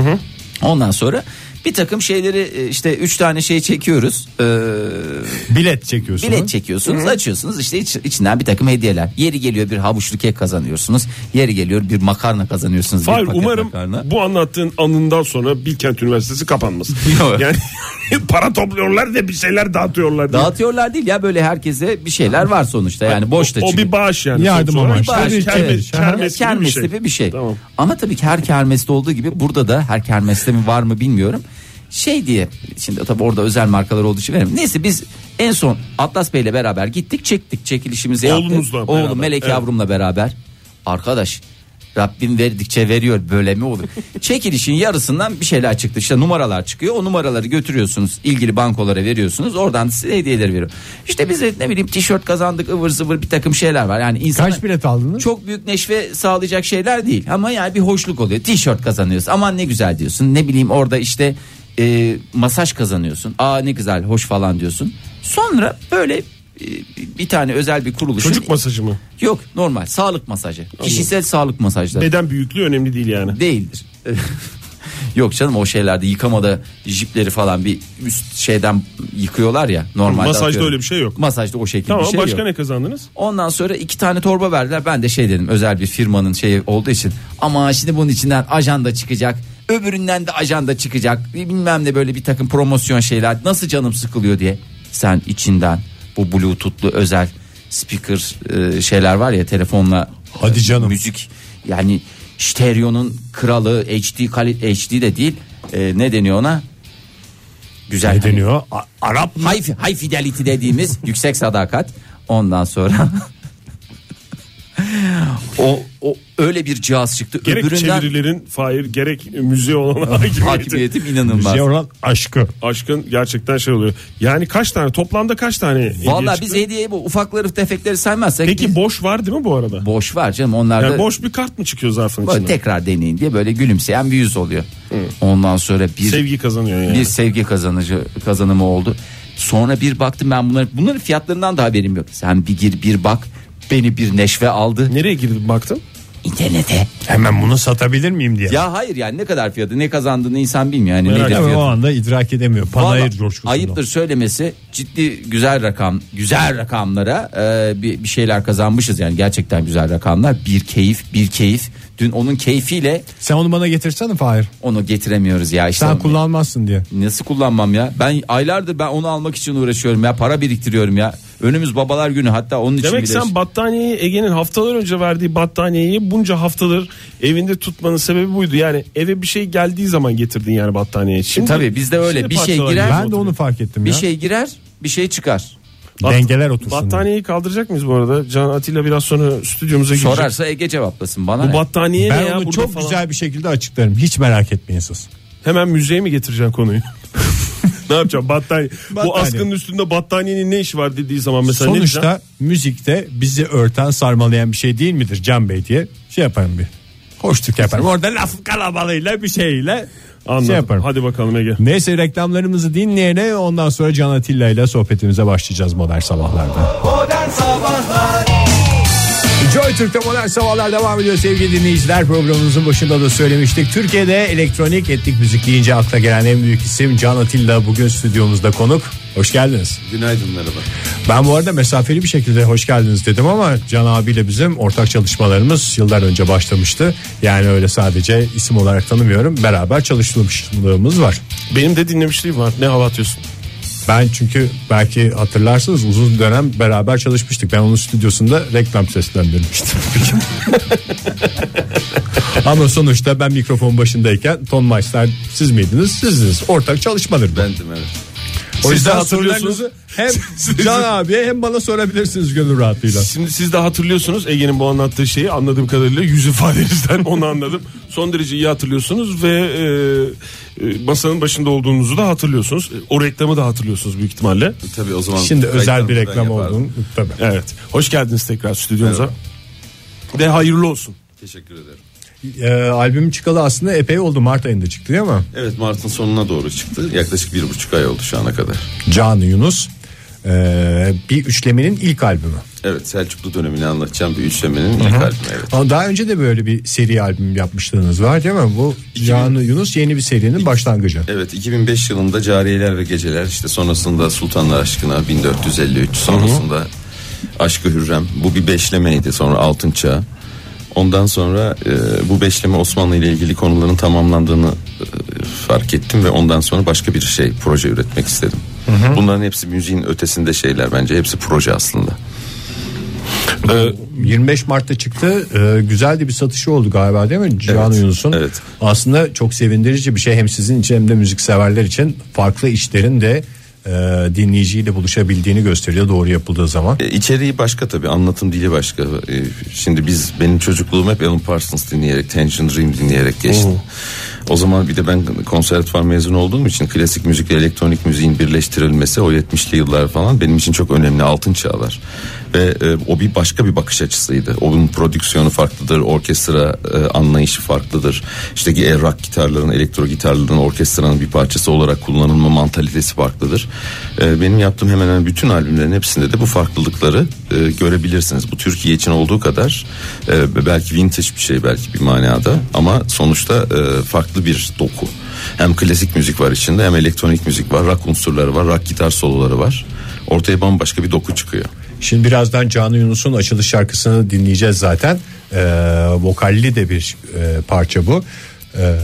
S4: Ondan sonra bir takım şeyleri e, işte 3 tane şey çekiyoruz. Ee,
S7: Bilet çekiyorsunuz.
S4: Bilet çekiyorsunuz açıyorsunuz işte iç- içinden bir takım hediyeler. Yeri geliyor bir havuçlu kek kazanıyorsunuz. Yeri geliyor bir makarna kazanıyorsunuz. bir
S5: Hayır
S4: paket
S5: umarım
S4: makarna.
S5: bu anlattığın anından sonra Bilkent Üniversitesi kapanmaz.
S4: Yok.
S5: yani para topluyorlar da bir şeyler dağıtıyorlar. diye.
S4: Dağıtıyorlar değil ya böyle herkese bir şeyler var sonuçta yani boş da
S5: o, o
S4: çünkü.
S5: bir bağış yani.
S7: Yardım
S5: Sonuç olarak
S7: amaçlı.
S5: bağış.
S7: Tabii,
S5: Kermes,
S7: evet.
S5: kermes,
S4: Kermes
S5: gibi bir şey.
S4: bir şey.
S5: Tamam.
S4: Ama tabii ki her kermeste olduğu gibi burada da her kermeste mi var mı bilmiyorum. Şey diye şimdi tabii orada özel markalar olduğu için veremem. Neyse biz en son Atlas Bey'le beraber gittik çektik çekilişimizi yaptık.
S5: Oğlunuzla
S4: Oğlum
S5: beraber,
S4: Melek
S5: evet.
S4: yavrumla beraber. Arkadaş Rabbim verdikçe veriyor böyle mi olur? Çekilişin yarısından bir şeyler çıktı. İşte numaralar çıkıyor. O numaraları götürüyorsunuz. ilgili bankolara veriyorsunuz. Oradan size hediyeleri veriyor. İşte biz de ne bileyim tişört kazandık ıvır zıvır bir takım şeyler var. Yani insana-
S7: Kaç bilet aldınız?
S4: çok büyük neşve sağlayacak şeyler değil ama yani bir hoşluk oluyor. T-shirt kazanıyoruz. Aman ne güzel diyorsun. Ne bileyim orada işte e, masaj kazanıyorsun. Aa ne güzel hoş falan diyorsun. Sonra böyle e, bir tane özel bir kuruluşun
S5: Çocuk masajı mı?
S4: Yok normal sağlık masajı. Kişisel sağlık masajları
S5: Beden büyüklüğü önemli değil yani.
S4: değildir. Yok canım o şeylerde yıkamada jipleri falan bir üst şeyden yıkıyorlar ya normalde.
S5: Masajda
S4: atıyorum.
S5: öyle bir şey yok.
S4: Masajda o şekilde
S5: Tamam
S4: bir şey
S5: başka
S4: yok.
S5: ne kazandınız?
S4: Ondan sonra iki tane torba verdiler. Ben de şey dedim özel bir firmanın şeyi olduğu için. Ama şimdi bunun içinden ajanda çıkacak. Öbüründen de ajanda çıkacak. Bilmem ne böyle bir takım promosyon şeyler. Nasıl canım sıkılıyor diye. Sen içinden bu bluetoothlu özel speaker e, şeyler var ya telefonla.
S3: Hadi canım.
S4: Müzik yani stereonun kralı HD kalite HD de değil. E, ne deniyor ona? Güzel.
S7: Ne
S4: hani-
S7: deniyor? A- Arap mı?
S4: high, high fidelity dediğimiz yüksek sadakat. Ondan sonra o, o öyle bir cihaz çıktı.
S5: Gerek
S4: Öbüründen
S5: çevirilerin Fahir gerek müziğe olan hakimiyeti.
S4: hakimiyetim inanılmaz.
S7: Şey olan aşkı.
S5: Aşkın gerçekten şey oluyor. Yani kaç tane toplamda kaç tane? hediye
S4: Vallahi biz
S5: çıktı?
S4: hediyeyi bu ufakları tefekleri saymazsak
S5: Peki
S4: biz-
S5: boş var değil mi bu arada?
S4: boş var canım onlarda
S5: Yani boş bir kart mı çıkıyor zarfın
S4: böyle
S5: içinden?
S4: tekrar deneyin diye böyle gülümseyen bir yüz oluyor. Ondan sonra bir
S5: Sevgi kazanıyor yani.
S4: bir sevgi kazanıcı kazanımı oldu. Sonra bir baktım ben bunları bunların fiyatlarından da haberim yok. Sen bir gir bir bak beni bir neşve aldı.
S5: Nereye girdin baktın?
S4: İnternete
S7: Hemen bunu satabilir miyim diye.
S4: Ya hayır yani ne kadar fiyatı ne kazandığını insan bilmiyor. Yani nedir
S7: Tabii
S4: fiyatı.
S7: o anda idrak edemiyor. Panayır
S4: Vallahi
S7: coşkusunda.
S4: ayıptır söylemesi ciddi güzel rakam güzel rakamlara e, bir, bir şeyler kazanmışız yani gerçekten güzel rakamlar bir keyif bir keyif dün onun keyfiyle
S7: Sen onu bana getirsene Fahir.
S4: onu getiremiyoruz ya işte
S7: Sen
S4: Onu-
S7: kullanmazsın diye.
S4: nasıl kullanmam ya ben aylardır ben onu almak için uğraşıyorum ya para biriktiriyorum ya önümüz babalar günü hatta onun için
S5: Demek
S4: bile
S5: sen battaniyeyi Ege'nin haftalar önce verdiği battaniyeyi bunca haftadır evinde tutmanın sebebi buydu. Yani eve bir şey geldiği zaman getirdin yani battaniyeyi. Şimdi,
S4: E, Tabii bizde öyle.
S5: şimdi
S4: Bir şey
S5: parçalar
S4: girer-
S5: gibi
S7: Ben de
S5: oturuyor.
S7: onu fark ettim
S4: bir
S7: ya.
S4: şey girer bir şey çıkar
S5: Bat-
S7: Dengeler otursun.
S5: Battaniyeyi kaldıracak mıyız bu arada? Can Atilla biraz sonra stüdyomuza girecek.
S4: sorarsa Ege cevaplasın bana ne?
S5: Bu battaniye ne
S7: Ben
S5: ya?
S7: onu
S5: Burada
S7: çok
S5: falan.
S7: güzel bir şekilde açıklarım. Hiç merak etmeyin siz.
S5: Hemen müzeye mi getireceksin konuyu? ne yapacağım battaniye. Bu
S7: Battaniye.
S5: askının üstünde battaniyenin ne işi var dediği zaman mesela ne diyeceğim?
S7: Sonuçta müzikte bizi örten sarmalayan bir şey değil midir Can Bey diye şey yaparım bir. Hoşluk yaparım. Orada laf kalabalığıyla bir şeyle
S5: Anladım.
S7: şey yaparım.
S5: Hadi bakalım Ege.
S7: Neyse reklamlarımızı dinleyene ondan sonra Can Atilla ile sohbetimize başlayacağız modern sabahlarda.
S3: Joy Türk'te modern sabahlar devam ediyor sevgili dinleyiciler. Programımızın başında da söylemiştik. Türkiye'de elektronik etnik müzik deyince akla gelen en büyük isim Can Atilla bugün stüdyomuzda konuk. Hoş geldiniz.
S8: Günaydın merhaba.
S7: Ben bu arada mesafeli bir şekilde hoş geldiniz dedim ama Can abiyle bizim ortak çalışmalarımız yıllar önce başlamıştı. Yani öyle sadece isim olarak tanımıyorum. Beraber çalıştığımız var.
S5: Benim de dinlemişliğim var. Ne hava atıyorsun?
S7: Ben çünkü belki hatırlarsınız uzun dönem beraber çalışmıştık. Ben onun stüdyosunda reklam seslendirmiştim. Ama sonuçta ben mikrofon başındayken Ton Meister siz miydiniz? Sizdiniz. Ortak çalışmadır. Ben
S8: Bendim evet.
S7: o
S5: Siz de
S7: yüzden
S5: hatırlıyorsunuz.
S7: sorularınızı hem Can abiye hem bana sorabilirsiniz gönül rahatlığıyla.
S5: Şimdi siz de hatırlıyorsunuz Ege'nin bu anlattığı şeyi anladığım kadarıyla yüz ifadenizden onu anladım. Son derece iyi hatırlıyorsunuz ve e, e, masanın başında olduğunuzu da hatırlıyorsunuz. E, O reklamı da hatırlıyorsunuz büyük ihtimalle.
S8: Tabii o zaman
S7: Şimdi özel bir
S8: reklam
S7: reklam
S8: ben yapardım.
S7: olduğunu tabii.
S5: Evet. Hoş geldiniz tekrar stüdyomuza. Ve hayırlı olsun.
S8: Teşekkür ederim.
S7: Ee, albüm çıkalı aslında epey oldu Mart ayında çıktı değil mi?
S8: Evet Mart'ın sonuna doğru çıktı. Yaklaşık bir buçuk ay oldu şu ana kadar.
S7: Can Yunus ee, bir üçlemenin ilk albümü.
S8: Evet Selçuklu dönemini anlatacağım bir üçlemenin ilk albümü evet.
S7: Ama daha önce de böyle bir seri albüm yapmışlığınız var değil mi? Bu Can Yunus yeni bir serinin başlangıcı.
S8: Evet 2005 yılında Cariyeler ve Geceler işte sonrasında Sultanlar Aşkına 1453 sonrasında Aşkı Hürrem bu bir beşlemeydi sonra Altın Çağ. Ondan sonra e, bu beşleme Osmanlı ile ilgili konuların tamamlandığını e, fark ettim ve ondan sonra başka bir şey proje üretmek istedim. Bunların hepsi müziğin ötesinde şeyler bence hepsi proje aslında.
S7: 25 Mart'ta çıktı. Ee, güzel de bir satışı oldu galiba değil mi Can
S8: Evet,
S7: Yunus'un?
S8: evet.
S7: Aslında çok sevindirici bir şey hem sizin için hem de müzikseverler için farklı işlerin de e, dinleyiciyle buluşabildiğini gösteriyor doğru yapıldığı zaman.
S8: E, İçeriği başka tabii anlatım dili başka. E, Şimdi biz benim çocukluğum hep Alan Parsons dinleyerek, Tangerine Dream dinleyerek geçti. O zaman bir de ben konservatuvar mezunu olduğum için klasik müzikle elektronik müziğin birleştirilmesi o 70'li yıllar falan benim için çok önemli altın çağlar. ve e, o bir başka bir bakış açısıydı. Onun prodüksiyonu farklıdır, orkestra e, anlayışı farklıdır. İşte ki e, rock gitarların, elektro gitarların orkestranın bir parçası olarak kullanılma mantalitesi farklıdır. E, benim yaptığım hemen hemen bütün albümlerin hepsinde de bu farklılıkları e, görebilirsiniz. Bu Türkiye için olduğu kadar e, belki vintage bir şey belki bir manada ama sonuçta e, farklı bir doku. Hem klasik müzik var içinde hem elektronik müzik var, rock unsurları var, rock gitar soloları var. Ortaya bambaşka bir doku çıkıyor.
S7: Şimdi birazdan Canı Yunus'un açılış şarkısını dinleyeceğiz zaten. Ee, vokalli de bir e, parça bu. Ee,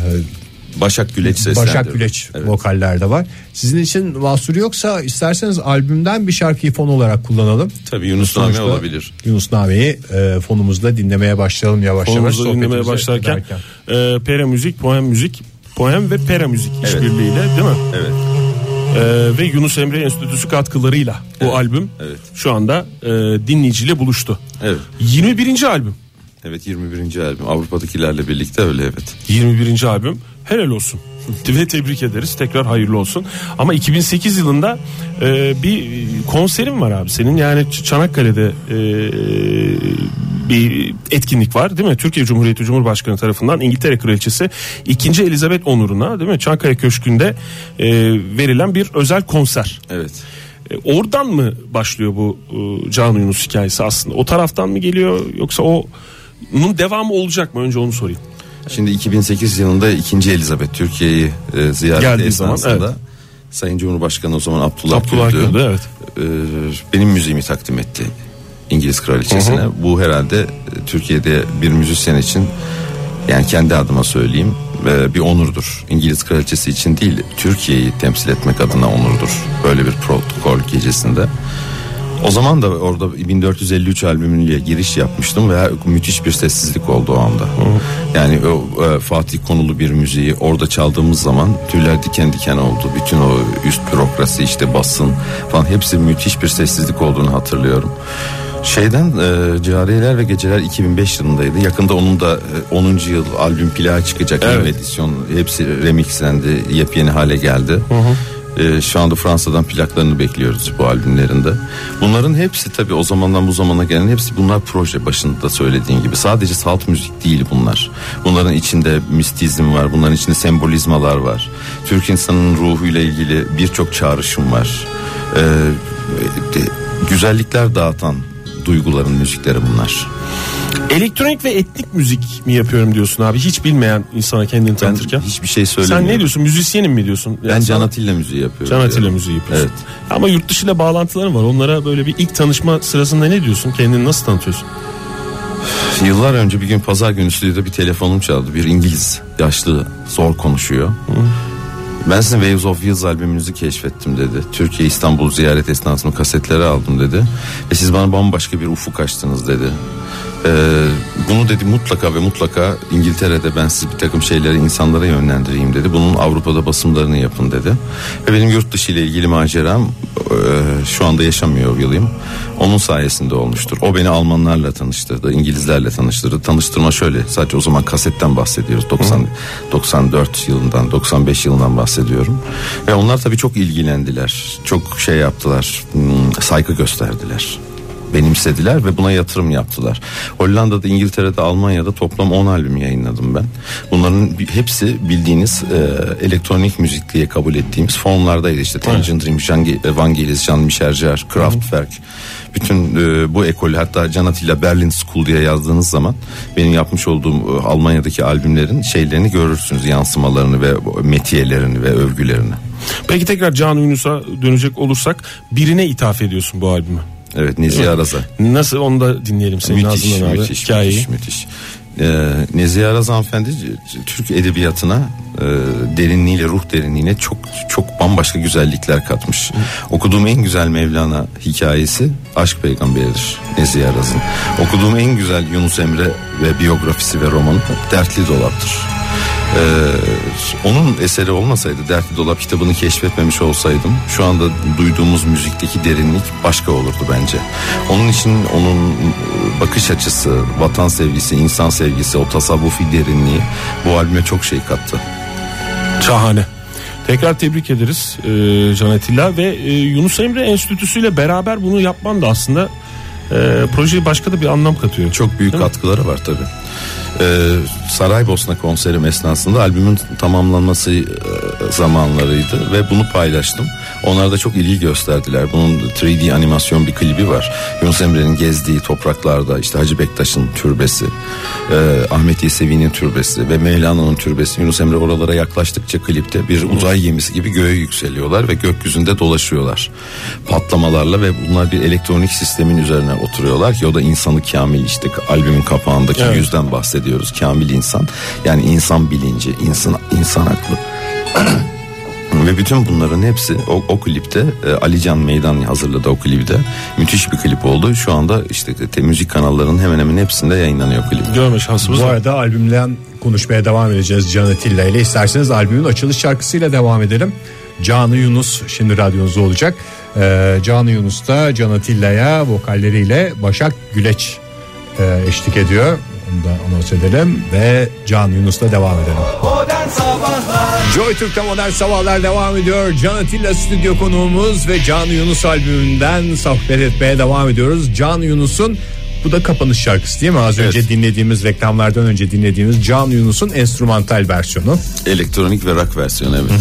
S8: Başak Güleç seslendiriyor.
S7: Başak Güleç
S8: Evet.
S7: vokaller de var. Sizin için mahsur yoksa isterseniz albümden bir şarkıyı fon olarak kullanalım.
S8: Tabii Yunus Nami olabilir.
S7: Yunus Nami'yi e, fonumuzda dinlemeye başlayalım yavaş yavaş.
S5: Konumuzu dinlemeye
S7: sohbetimize
S5: başlarken
S7: ederken.
S5: e, pera müzik, poem müzik, poem ve pera müzik işbirliğiyle değil mi?
S8: Evet.
S5: E, ve Yunus Emre Enstitüsü katkılarıyla bu albüm
S8: evet.
S5: şu anda e, dinleyiciyle buluştu.
S8: Evet.
S5: 21. albüm.
S8: Evet 21. albüm Avrupa'dakilerle birlikte öyle evet.
S5: 21. albüm. Helal olsun. Ve tebrik ederiz. Tekrar hayırlı olsun. Ama 2008 yılında e, bir konserim var abi senin. Yani Ç- Çanakkale'de e, bir etkinlik var değil mi? Türkiye Cumhuriyeti Cumhurbaşkanı tarafından İngiltere Kraliçesi 2. Elizabeth onuruna değil mi? Çankaya Köşkü'nde e, verilen bir özel konser.
S8: Evet.
S5: E, Oradan mı başlıyor bu e, Can Yunus hikayesi aslında? O taraftan mı geliyor yoksa o bunun devamı olacak mı? Önce onu sorayım.
S8: Şimdi 2008 yılında 2. Elizabeth Türkiye'yi e, ziyaret
S5: Geldiği zaman,
S8: esnasında Sayın Cumhurbaşkanı o zaman Abdullah,
S5: Abdullah
S8: Gül,
S5: Gül, evet.
S8: e, benim müziğimi takdim etti İngiliz kraliçesine. Bu herhalde e, Türkiye'de bir müzisyen için yani kendi adıma söyleyeyim e, bir onurdur. İngiliz kraliçesi için değil Türkiye'yi temsil etmek adına onurdur. Böyle bir protokol gecesinde. O zaman da orada 1453 albümüyle giriş yapmıştım ve müthiş bir sessizlik oldu o anda. Yani o e, Fatih konulu bir müziği orada çaldığımız zaman tüyler diken diken oldu. Bütün o üst bürokrasi işte basın falan hepsi müthiş bir sessizlik olduğunu hatırlıyorum. Şeyden e, Cariyeler ve Geceler 2005 yılındaydı. Yakında onun da e, 10. yıl albüm plağı çıkacak. Yeni edisyon hepsi remixlendi, yepyeni hale geldi. Ee, şu anda Fransa'dan plaklarını bekliyoruz bu albümlerinde. Bunların hepsi tabii o zamandan bu zamana gelen hepsi bunlar proje başında da söylediğin gibi. Sadece salt müzik değil bunlar. Bunların içinde mistizm var, bunların içinde sembolizmalar var. Türk insanının ruhuyla ilgili birçok çağrışım var. Ee, de- güzellikler dağıtan duyguların müzikleri bunlar.
S5: Elektronik ve etnik müzik mi yapıyorum diyorsun abi? Hiç bilmeyen insana kendini
S8: Ben
S5: tanıtırken.
S8: hiçbir şey
S5: Sen
S8: söylemiyorum.
S5: ne diyorsun? Müzisyenim mi diyorsun?
S8: Ben
S5: Yani
S8: Can
S5: sana-
S8: Atilla müziği yapıyorum.
S5: Can Atilla
S8: diyorum.
S5: müziği yapıyorsun.
S8: Evet.
S5: Ama yurt dışıyla bağlantıların var. Onlara böyle bir ilk tanışma sırasında ne diyorsun? Kendini nasıl tanıtıyorsun?
S8: Yıllar önce bir gün pazar günü stüdyoda bir telefonum çaldı. Bir İngiliz yaşlı zor konuşuyor. Ben sizin Waves of Years albümünüzü keşfettim dedi. Türkiye İstanbul ziyaret esnasında kasetleri aldım dedi. Ve siz bana bambaşka bir ufuk açtınız dedi. Ee, bunu dedi mutlaka ve mutlaka İngiltere'de ben sizi bir takım şeyleri insanlara yönlendireyim dedi. Bunun Avrupa'da basımlarını yapın dedi. Ve benim yurt dışı ile ilgili maceram e, şu anda yaşamıyor yılayım. Onun sayesinde olmuştur. O beni Almanlarla tanıştırdı, İngilizlerle tanıştırdı. Tanıştırma şöyle sadece o zaman kasetten bahsediyoruz. 90, 94 yılından 95 yılından bahsediyorum. Ve onlar tabii çok ilgilendiler. Çok şey yaptılar. hmm, Saygı gösterdiler benimsediler ve buna yatırım yaptılar. Hollanda'da, İngiltere'de, Almanya'da toplam 10 albüm yayınladım ben. Bunların bi- hepsi bildiğiniz e, elektronik müzik diye kabul ettiğimiz formlardaydı işte. Tangerine Dream, Jean Ge- Vangelis, Jean Michel Jarre, Kraftwerk. Bütün e, bu ekol hatta Can Atilla Berlin School diye yazdığınız zaman benim yapmış olduğum e, Almanya'daki albümlerin şeylerini görürsünüz. Yansımalarını ve metiyelerini ve övgülerini.
S5: Peki tekrar Can Yunus'a dönecek olursak birine ithaf ediyorsun bu albümü.
S8: Evet Nezihe Araza.
S5: Nasıl onu da dinleyelim senin ağzından abi.
S8: müthiş,
S5: Hikayeyi.
S8: Müthiş, müthiş. Ee, Nezihe Araz hanımefendi c- c- Türk edebiyatına e, derinliğiyle ruh derinliğine çok çok bambaşka güzellikler katmış. Okuduğum en güzel Mevlana hikayesi Aşk Peygamberidir Nezihe Araz'ın. Okuduğum en güzel Yunus Emre ve biyografisi ve romanı Dertli Dolap'tır. Ee, onun eseri olmasaydı Dertli Dolap kitabını keşfetmemiş olsaydım şu anda duyduğumuz müzikteki derinlik başka olurdu bence. Onun için onun e, bakış açısı, vatan sevgisi, insan sevgisi, o tasavvufi derinliği bu albüme çok şey kattı.
S5: Şahane. Tekrar tebrik ederiz e, Can Atilla ve e, Yunus Emre Enstitüsü ile beraber bunu yapman da aslında e, projeye başka da bir anlam katıyor.
S8: Çok büyük katkıları var tabi. Saraybosna konserim esnasında albümün tamamlanması e, zamanlarıydı ve bunu paylaştım. Onlar da çok ilgi gösterdiler. Bunun 3D animasyon bir klibi var. Yunus Emre'nin gezdiği topraklarda işte Hacı Bektaş'ın türbesi, e, Ahmet Yesevi'nin türbesi ve Mevlana'nın türbesi. Yunus Emre oralara yaklaştıkça klipte bir uzay gemisi gibi göğe yükseliyorlar ve gökyüzünde dolaşıyorlar. Patlamalarla ve bunlar bir elektronik sistemin üzerine oturuyorlar ki o da insanı kamil işte albümün kapağındaki yüzden bahsediyoruz. Kamil insan yani insan bilinci, insan, insan aklı. Ve bütün bunların hepsi o, o klipte e, Ali Can Meydan hazırladı o klipte. Müthiş bir klip oldu. Şu anda işte e, te, müzik kanallarının hemen hemen hepsinde yayınlanıyor klip.
S5: Görme şansımız
S7: Bu
S5: var.
S7: arada albümden konuşmaya devam edeceğiz Can Atilla ile. İsterseniz albümün açılış şarkısıyla devam edelim. Canı Yunus şimdi radyonuzda olacak. Ee, Canı Yunus da Can Atilla'ya vokalleriyle Başak Güleç e, eşlik ediyor. Onu da anons edelim ve Can Yunus'la devam edelim. Joy Türk'te modern sabahlar devam ediyor. Can Atilla stüdyo konuğumuz ve Can Yunus albümünden sohbet etmeye devam ediyoruz. Can Yunus'un bu da kapanış şarkısı değil mi? Az önce dinlediğimiz reklamlardan önce dinlediğimiz Can Yunus'un enstrümantal versiyonu.
S8: Elektronik ve rock versiyonu evet.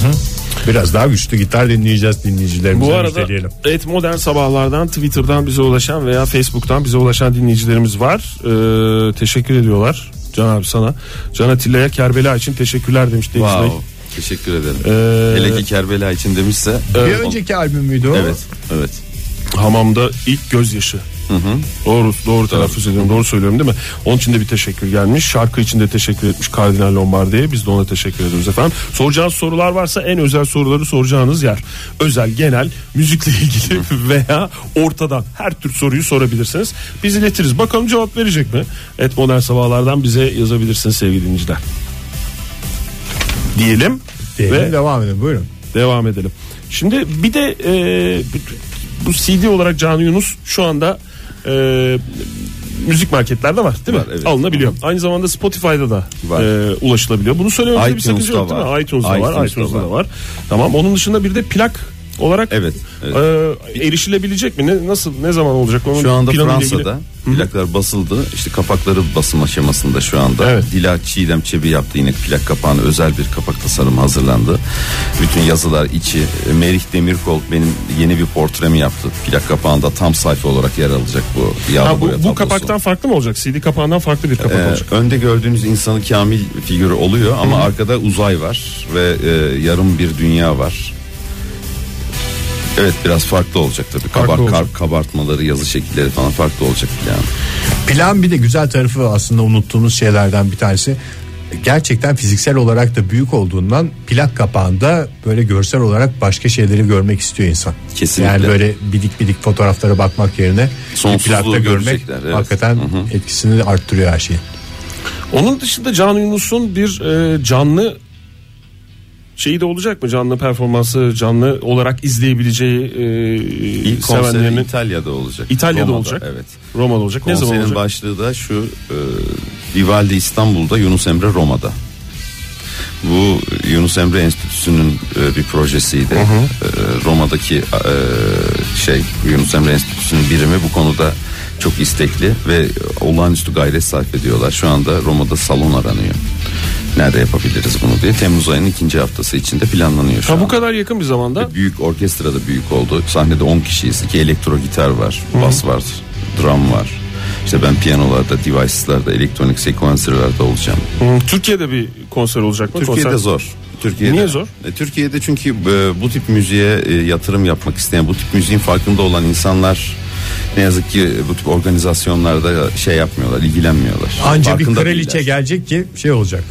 S7: Biraz daha güçlü gitar dinleyeceğiz dinleyicilerimize.
S5: Bu arada
S7: müjdeleyelim.
S5: et modern sabahlardan Twitter'dan bize ulaşan veya Facebook'tan bize ulaşan dinleyicilerimiz var. Ee, teşekkür ediyorlar Can abi sana. Can Atilla'ya Kerbela için teşekkürler demiş Deniz Bey.
S8: Wow. Teşekkür ederim.
S5: Ee,
S8: Hele ki Kerbela için demişse.
S7: Bir
S8: on-
S7: önceki albüm müydü o?
S8: Evet, evet.
S5: hamamda ilk gözyaşı. Doğru doğru telaffuz ediyorum doğru söylüyorum değil mi? Onun için de bir teşekkür gelmiş. Şarkı için de teşekkür etmiş Kardinal Lombardi'ye. Biz de ona teşekkür ediyoruz efendim. Soracağınız sorular varsa en özel soruları soracağınız yer. Özel, genel, müzikle ilgili veya ortadan her tür soruyu sorabilirsiniz. Biz iletiriz. Bakalım cevap verecek mi? Et Modern Sabahlardan bize yazabilirsiniz sevgili dinleyiciler. Diyelim.
S7: Diyelim,
S5: Ve-
S7: devam edin buyurun.
S5: devam edelim. Şimdi bir de e, bu CD olarak Can Yunus şu anda e, müzik marketlerde var değil mi?
S8: Var, evet.
S5: Alınabiliyor. Aynı zamanda Spotify'da da
S8: Var.
S5: e, ulaşılabiliyor. Bunu söylememizde bir
S8: iTunes'da
S5: sakınca yok değil mi?
S8: var.
S5: iTunes'da, var,
S8: iTunes'da
S5: iTunes'da da
S8: var.
S5: var. Tamam. Onun dışında bir de plak olarak
S8: Evet, evet.
S5: e, erişilebilecek mi? Ne, nasıl ne zaman olacak? Onun
S8: Şu anda
S5: planıyla
S8: Fransa'da plaklar basıldı. İşte kapakları basım aşamasında şu anda.
S5: Evet.
S8: Dila Çiğdem Çebi yaptı yine plak kapağını özel bir kapak tasarımı hazırlandı. Bütün yazılar içi. Merih Demirkol benim yeni bir portremi yaptı. Plak kapağında tam sayfa olarak yer alacak bu yağlı
S5: ilgili. Ha, bu,
S8: boya
S5: bu
S8: tablosu.
S5: kapaktan farklı mı olacak? CD kapağından farklı bir kapak
S8: Ee,
S5: olacak.
S8: önde gördüğünüz insanı kamil figürü oluyor ama arkada uzay var ve e, yarım bir dünya var. Evet biraz farklı olacak tabii. Kabar,
S5: olacak.
S8: kar- kabartmaları, yazı şekilleri falan farklı olacak yani.
S7: Plan bir de güzel tarafı aslında unuttuğumuz şeylerden bir tanesi. Gerçekten fiziksel olarak da büyük olduğundan plak kapağında böyle görsel olarak başka şeyleri görmek istiyor insan.
S8: Kesinlikle.
S7: Yani böyle bidik bidik fotoğraflara bakmak yerine bir
S8: Sonsuzluğu
S7: plakta görmek
S8: görecekler, evet.
S7: hakikaten etkisini arttırıyor her şeyi.
S5: Onun dışında Can Yunus'un bir e, canlı şeyi de olacak mı? Canlı performansı, canlı olarak izleyebileceği e,
S8: İlk konseri
S5: sevenlerinin
S8: İtalya'da olacak.
S5: İtalya'da
S8: Roma'da,
S5: olacak.
S8: Evet.
S5: Roma'da olacak. ne zaman
S8: Konserin
S5: olacak?
S8: başlığı da şu e, Vivaldi İstanbul'da Yunus Emre Roma'da. Bu Yunus Emre Enstitüsü'nün e, bir projesiydi. E, Roma'daki e, şey Yunus Emre Enstitüsü'nün birimi bu konuda çok istekli ve olağanüstü gayret sarf ediyorlar. Şu anda Roma'da salon aranıyor. Nerede yapabiliriz bunu diye. Temmuz ayının ikinci haftası içinde planlanıyor şu
S5: Ha, bu
S8: anda.
S5: kadar yakın bir zamanda.
S8: Büyük orkestra da büyük oldu. Sahnede 10 kişiyiz. İki elektro gitar var, bas var, drum var. İşte ben piyanolarda, device'larda, elektronik sequencer'larda olacağım.
S5: Hı, Türkiye'de bir konser olacak mı?
S8: Türkiye'de
S5: konser.
S8: zor. Türkiye'de.
S5: Niye zor?
S8: E, Türkiye'de çünkü e, bu tip müziğe e, yatırım yapmak isteyen, bu tip müziğin farkında olan insanlar ne yazık ki e, bu tip organizasyonlarda şey yapmıyorlar, ilgilenmiyorlar.
S7: Anca bir
S8: Farkında
S7: kraliçe
S8: değiller.
S7: gelecek ki şey olacak.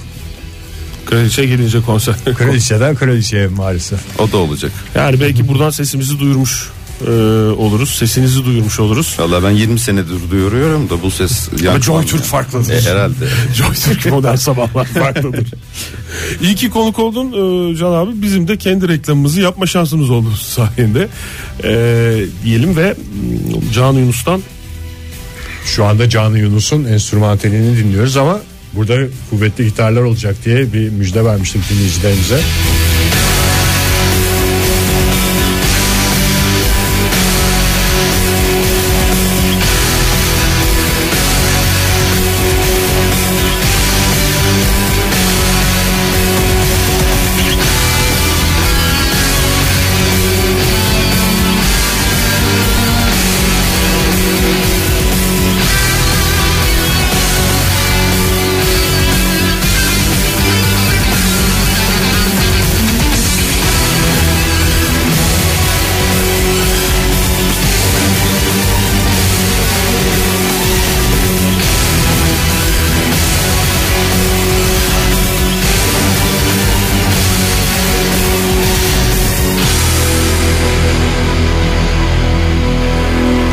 S5: Kraliçe Şey gelince konser.
S7: Kraliçeden kraliçeye maalesef.
S8: O da olacak.
S5: yani belki buradan sesimizi duyurmuş e, oluruz. Sesinizi duyurmuş oluruz.
S8: Valla ben 20 senedir duyuruyorum da bu ses...
S5: Ama Joy
S8: yankılanmıyor.
S5: Türk farklıdır.
S8: E, herhalde.
S5: Joytürk modern sabahlar farklıdır. İyi ki konuk oldun e, Can abi. Bizim de kendi reklamımızı yapma şansımız oldu sayende. E, diyelim ve mm, Can Yunus'tan
S7: Şu anda Canı Yunus'un enstrümantalini dinliyoruz ama burada kuvvetli gitarlar olacak diye bir müjde vermiştim dinleyicilerimize.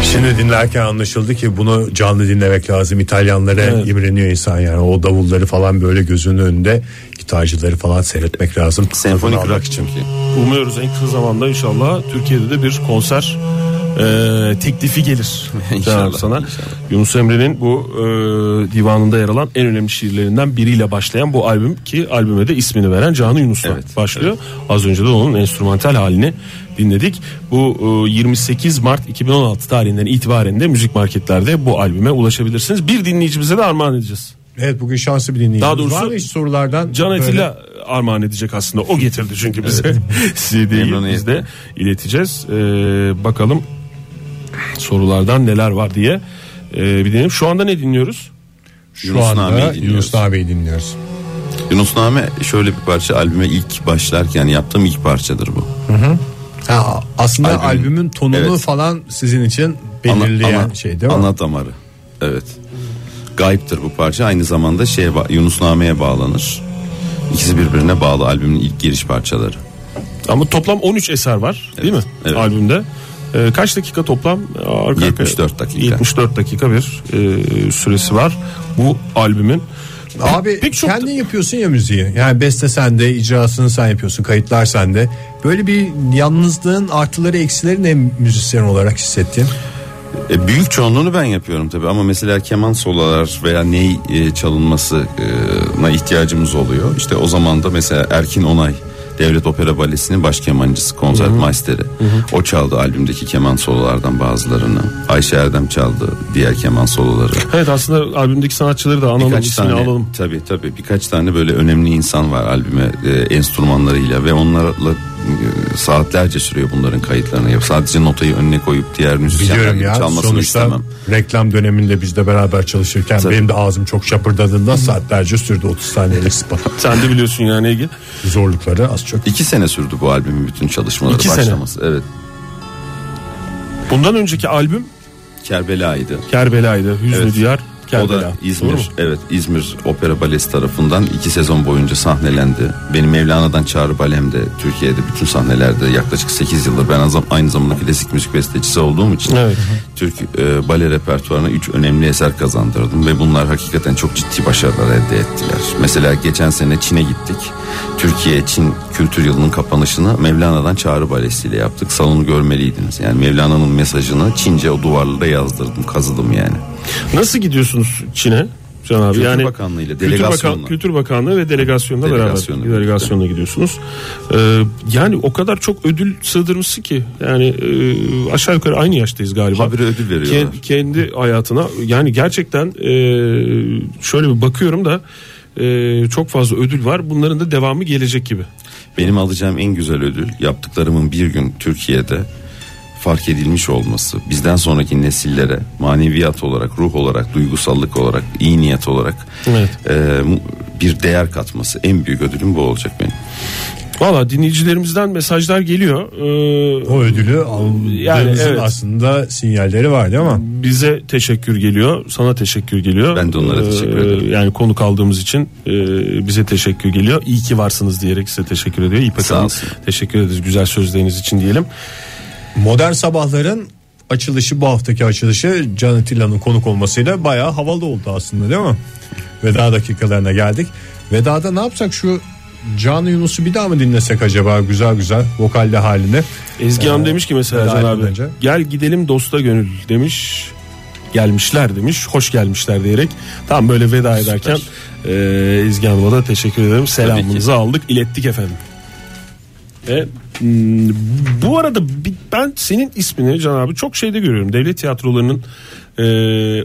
S7: Şimdi dinlerken anlaşıldı ki bunu canlı dinlemek lazım. İtalyanlara imreniyor insan yani. O davulları falan böyle gözünün önünde gitarcıları falan seyretmek lazım.
S8: Senfonik
S7: Tadını almak
S8: rock çünkü.
S5: Umuyoruz en kısa zamanda inşallah Türkiye'de de bir konser e, teklifi gelir.
S8: İnşallah,
S5: sana.
S8: inşallah.
S5: Yunus Emre'nin bu e, divanında yer alan en önemli şiirlerinden biriyle başlayan bu albüm ki albüme de ismini veren Canı Yunus'la
S8: Evet,
S5: başlıyor. Az önce de onun enstrümantal halini dinledik. Bu e, 28 Mart 2016 tarihinden itibaren de müzik marketlerde bu albüme ulaşabilirsiniz. Bir dinleyicimize de armağan edeceğiz.
S7: Evet bugün şanslı bir dinleyicimiz
S5: Daha doğrusu
S7: var mı hiç sorulardan?
S5: Can
S7: böyle?
S5: Atilla armağan edecek aslında. O getirdi çünkü bize CD'yi biz de ileteceğiz. Ee, bakalım sorulardan neler var diye ee, bir dinleyelim. Şu anda ne dinliyoruz?
S7: Şu
S8: Yunus
S7: anda
S8: Nami'yi dinliyoruz.
S7: Yunus Nami'yi dinliyoruz.
S8: Yunusname şöyle bir parça albüme ilk başlarken yaptığım ilk parçadır bu.
S7: Ha, aslında
S8: Albüm-
S7: albümün tonunu
S8: Evet.
S7: falan sizin için
S8: Ana-
S7: belirleyen
S8: ana-
S7: şey değil mi?
S8: Ana damarı. Evet. Gayiptir bu parça. Aynı zamanda şeye ba- Yunusname'ye bağlanır. İkisi birbirine bağlı albümün ilk giriş parçaları.
S5: Ama toplam 13 eser var değil mi
S8: Evet, evet.
S5: albümde? Ee, kaç dakika toplam? Arka arkaya-
S8: 74 dakika.
S5: 74 dakika bir e, süresi var bu albümün.
S7: Abi
S5: Pek çok-
S7: kendin yapıyorsun ya müziği. Yani beste sende, icrasını sen yapıyorsun, kayıtlar sende. Böyle bir yalnızlığın artıları eksileri ne müzisyen olarak hissettin?
S8: E, büyük çoğunluğunu ben yapıyorum tabii ama mesela keman solalar veya ney e, çalınmasına ihtiyacımız oluyor. İşte o zaman da mesela Erkin Onay Devlet Opera Balesi'nin baş kemancısı, konsertmeisteri. O çaldı albümdeki keman sololardan bazılarını. Ayşe Erdem çaldı diğer keman soloları.
S5: Evet aslında albümdeki sanatçıları da analım
S8: Birkaç
S5: ismini
S8: tane
S5: alalım.
S8: tabii tabii birkaç tane böyle önemli insan var albüme e, enstrümanlarıyla ve onlarla e, saatlerce sürüyor bunların kayıtlarını. yap. Sadece notayı önüne koyup diğer müzisyenlerin
S7: Biliyorum ya
S8: çalmasını
S7: sonuçta
S8: istemem.
S7: reklam döneminde biz de beraber çalışırken
S8: Tabii.
S7: benim de ağzım çok şapırdadığında saatlerce sürdü 30 saniyelik spot.
S5: Sen de biliyorsun yani Ege.
S7: Zorlukları az çok.
S8: İki sene sürdü bu albümün bütün çalışmaları
S5: İki sene.
S8: başlaması. Evet.
S5: Bundan önceki albüm
S8: Kerbela'ydı.
S5: Kerbela'ydı. Hüznü
S8: Evet.
S5: Diyar
S8: O
S5: Kerbela.
S8: da
S5: Doğru mu?
S8: İzmir, evet İzmir Opera Balesi tarafından iki sezon boyunca sahnelendi. Benim Mevlana'dan Çağrı Balem'de Türkiye'de bütün sahnelerde yaklaşık 8 yıldır ben azam- aynı zamanda klasik müzik bestecisi olduğum için
S5: Evet.
S8: Türk e, bale repertuarına 3 önemli eser kazandırdım ve bunlar hakikaten çok ciddi başarılar elde ettiler. Mesela geçen sene Çin'e gittik. Türkiye-Çin kültür yılının kapanışını Mevlana'dan Çağrı Balesi ile yaptık. Salonu görmeliydiniz. Yani Mevlana'nın mesajını Çince o duvarlara yazdırdım, kazıdım yani.
S5: Nasıl gidiyorsunuz Çin'e? Can abi
S8: Kültür
S5: yani
S8: Bakanlığı ile,
S5: Kültür,
S8: delegasyonla.
S5: Kültür Bakanlığı ve delegasyonla
S8: Delegasyonla
S5: beraber
S8: birlikte.
S5: delegasyonla gidiyorsunuz. Ee, yani o kadar çok ödül sığdırmışsın ki yani e, aşağı yukarı aynı yaştayız galiba.
S8: Habire ödül veriyorlar.
S5: Ke- kendi hayatına yani gerçekten e, şöyle bir bakıyorum da e, çok fazla ödül var. Bunların da devamı gelecek gibi.
S8: Benim alacağım en güzel ödül yaptıklarımın bir gün Türkiye'de fark edilmiş olması. Bizden sonraki nesillere maneviyat olarak, ruh olarak, duygusallık olarak, iyi niyet olarak
S5: Evet.
S8: e, mu- bir değer katması. En büyük ödülüm bu olacak benim.
S5: Valla dinleyicilerimizden mesajlar geliyor. Ee,
S7: O ödülü aldığınızın
S5: evet.
S7: aslında sinyalleri var değil mi?
S5: bize teşekkür geliyor. Sana teşekkür geliyor. Ee,
S8: Ben de onlara teşekkür ederim.
S5: Yani konu kaldığımız için e, bize teşekkür geliyor. İyi ki varsınız diyerek size teşekkür ediyor. İpek
S8: Sağ
S5: Hanım,
S8: olsun.
S5: Teşekkür ederiz güzel sözleriniz için diyelim.
S7: Modern sabahların açılışı bu haftaki açılışı Can Atilla'nın konuk olmasıyla bayağı havalı oldu aslında değil mi? Veda dakikalarına geldik. Vedada ne yapsak şu Can Yunus'u bir daha mı dinlesek acaba güzel güzel vokalli halinde?
S5: Ezgi Hanım demiş ki mesela
S7: veda
S5: Can abi
S7: etmeden önce.
S5: gel gidelim dosta gönül demiş. Gelmişler demiş. Hoş gelmişler diyerek tam böyle veda ederken e, Ezgi Hanım'a da teşekkür ederim. Selamınızı aldık ilettik efendim. E, hmm, bu arada bi- ben senin ismini Can abi çok şeyde görüyorum. Devlet tiyatrolarının e,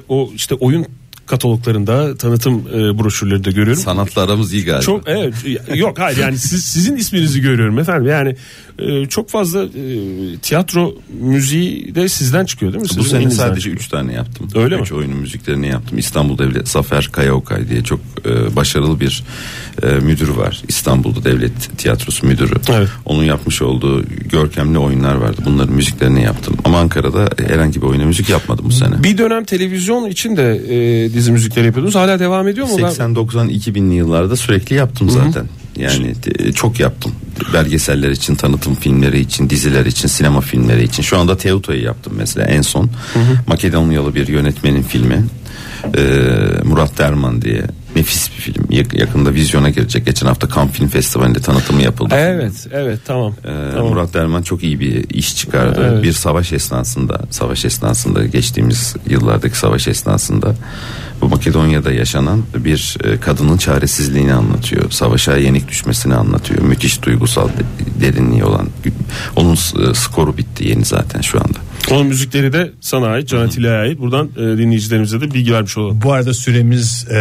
S5: o işte oyun kataloglarında tanıtım e, broşürlerinde görüyorum.
S8: Sanatla aramız iyi galiba.
S5: Çok evet yok hayır yani siz, sizin isminizi görüyorum efendim yani e, çok fazla e, tiyatro müziği de sizden çıkıyor değil mi?
S8: bu
S5: Sizin
S8: sene
S5: elinizden
S8: sadece
S5: çıkıyor.
S8: 3 tane yaptım.
S5: Öyle
S8: üç
S5: mi?
S8: oyunun müziklerini yaptım. İstanbul Devlet Zafer Kayaokay diye çok e, başarılı bir e, müdür var. İstanbul'da Devlet Tiyatrosu müdürü.
S5: Evet.
S8: Onun yapmış olduğu görkemli oyunlar vardı. Bunların müziklerini yaptım. Ama Ankara'da herhangi bir oyuna müzik yapmadım bu sene.
S5: Bir dönem televizyon için de e, dizi müzikleri yapıyordunuz hala devam ediyor mu? Ben-
S8: 80-90-2000'li yıllarda sürekli yaptım zaten. Yani e, çok yaptım. belgeseller için, tanıtım filmleri için, diziler için, sinema filmleri için. Şu anda Teuto'yu yaptım mesela en son. Makedonyalı bir yönetmenin filmi. Ee, Murat Derman diye. Nefis bir film. Yak- Yakında vizyona girecek. Geçen hafta Cannes Film Festivali'nde tanıtımı yapıldı.
S5: Evet evet tamam.
S8: Ee,
S5: tamam.
S8: Murat Derman çok iyi bir iş çıkardı.
S5: Evet.
S8: Bir savaş esnasında, savaş esnasında geçtiğimiz yıllardaki savaş esnasında bu Makedonya'da yaşanan bir e, kadının çaresizliğini anlatıyor. Savaşa yenik düşmesini anlatıyor. Müthiş duygusal de- derinliği olan. Onun e, skoru bitti yeni zaten şu anda.
S5: Onun müzikleri de sana ait, Can Atilla'ya ait. Buradan e, dinleyicilerimize de bilgi vermiş olalım.
S7: Bu arada süremiz e,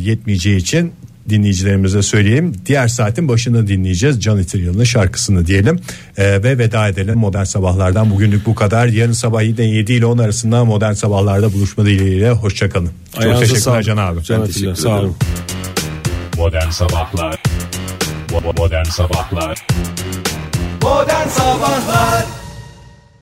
S7: yetmeyeceği için dinleyicilerimize söyleyeyim. Diğer saatin başında dinleyeceğiz Can İtiryalın'ın şarkısını diyelim. E, ve veda edelim Modern Sabahlar'dan. Bugünlük bu kadar. Yarın sabah yine 7 ile 10 arasında Modern Sabahlar'da buluşma dileğiyle. Hoşçakalın. Çok
S5: Ayağınıza
S7: teşekkürler
S5: sağlık.
S7: Can abi.
S5: Can Atilla
S8: teşekkür
S5: sağ
S8: ederim.
S5: olun.
S1: Modern Sabahlar Bo- Modern Sabahlar
S2: Modern Sabahlar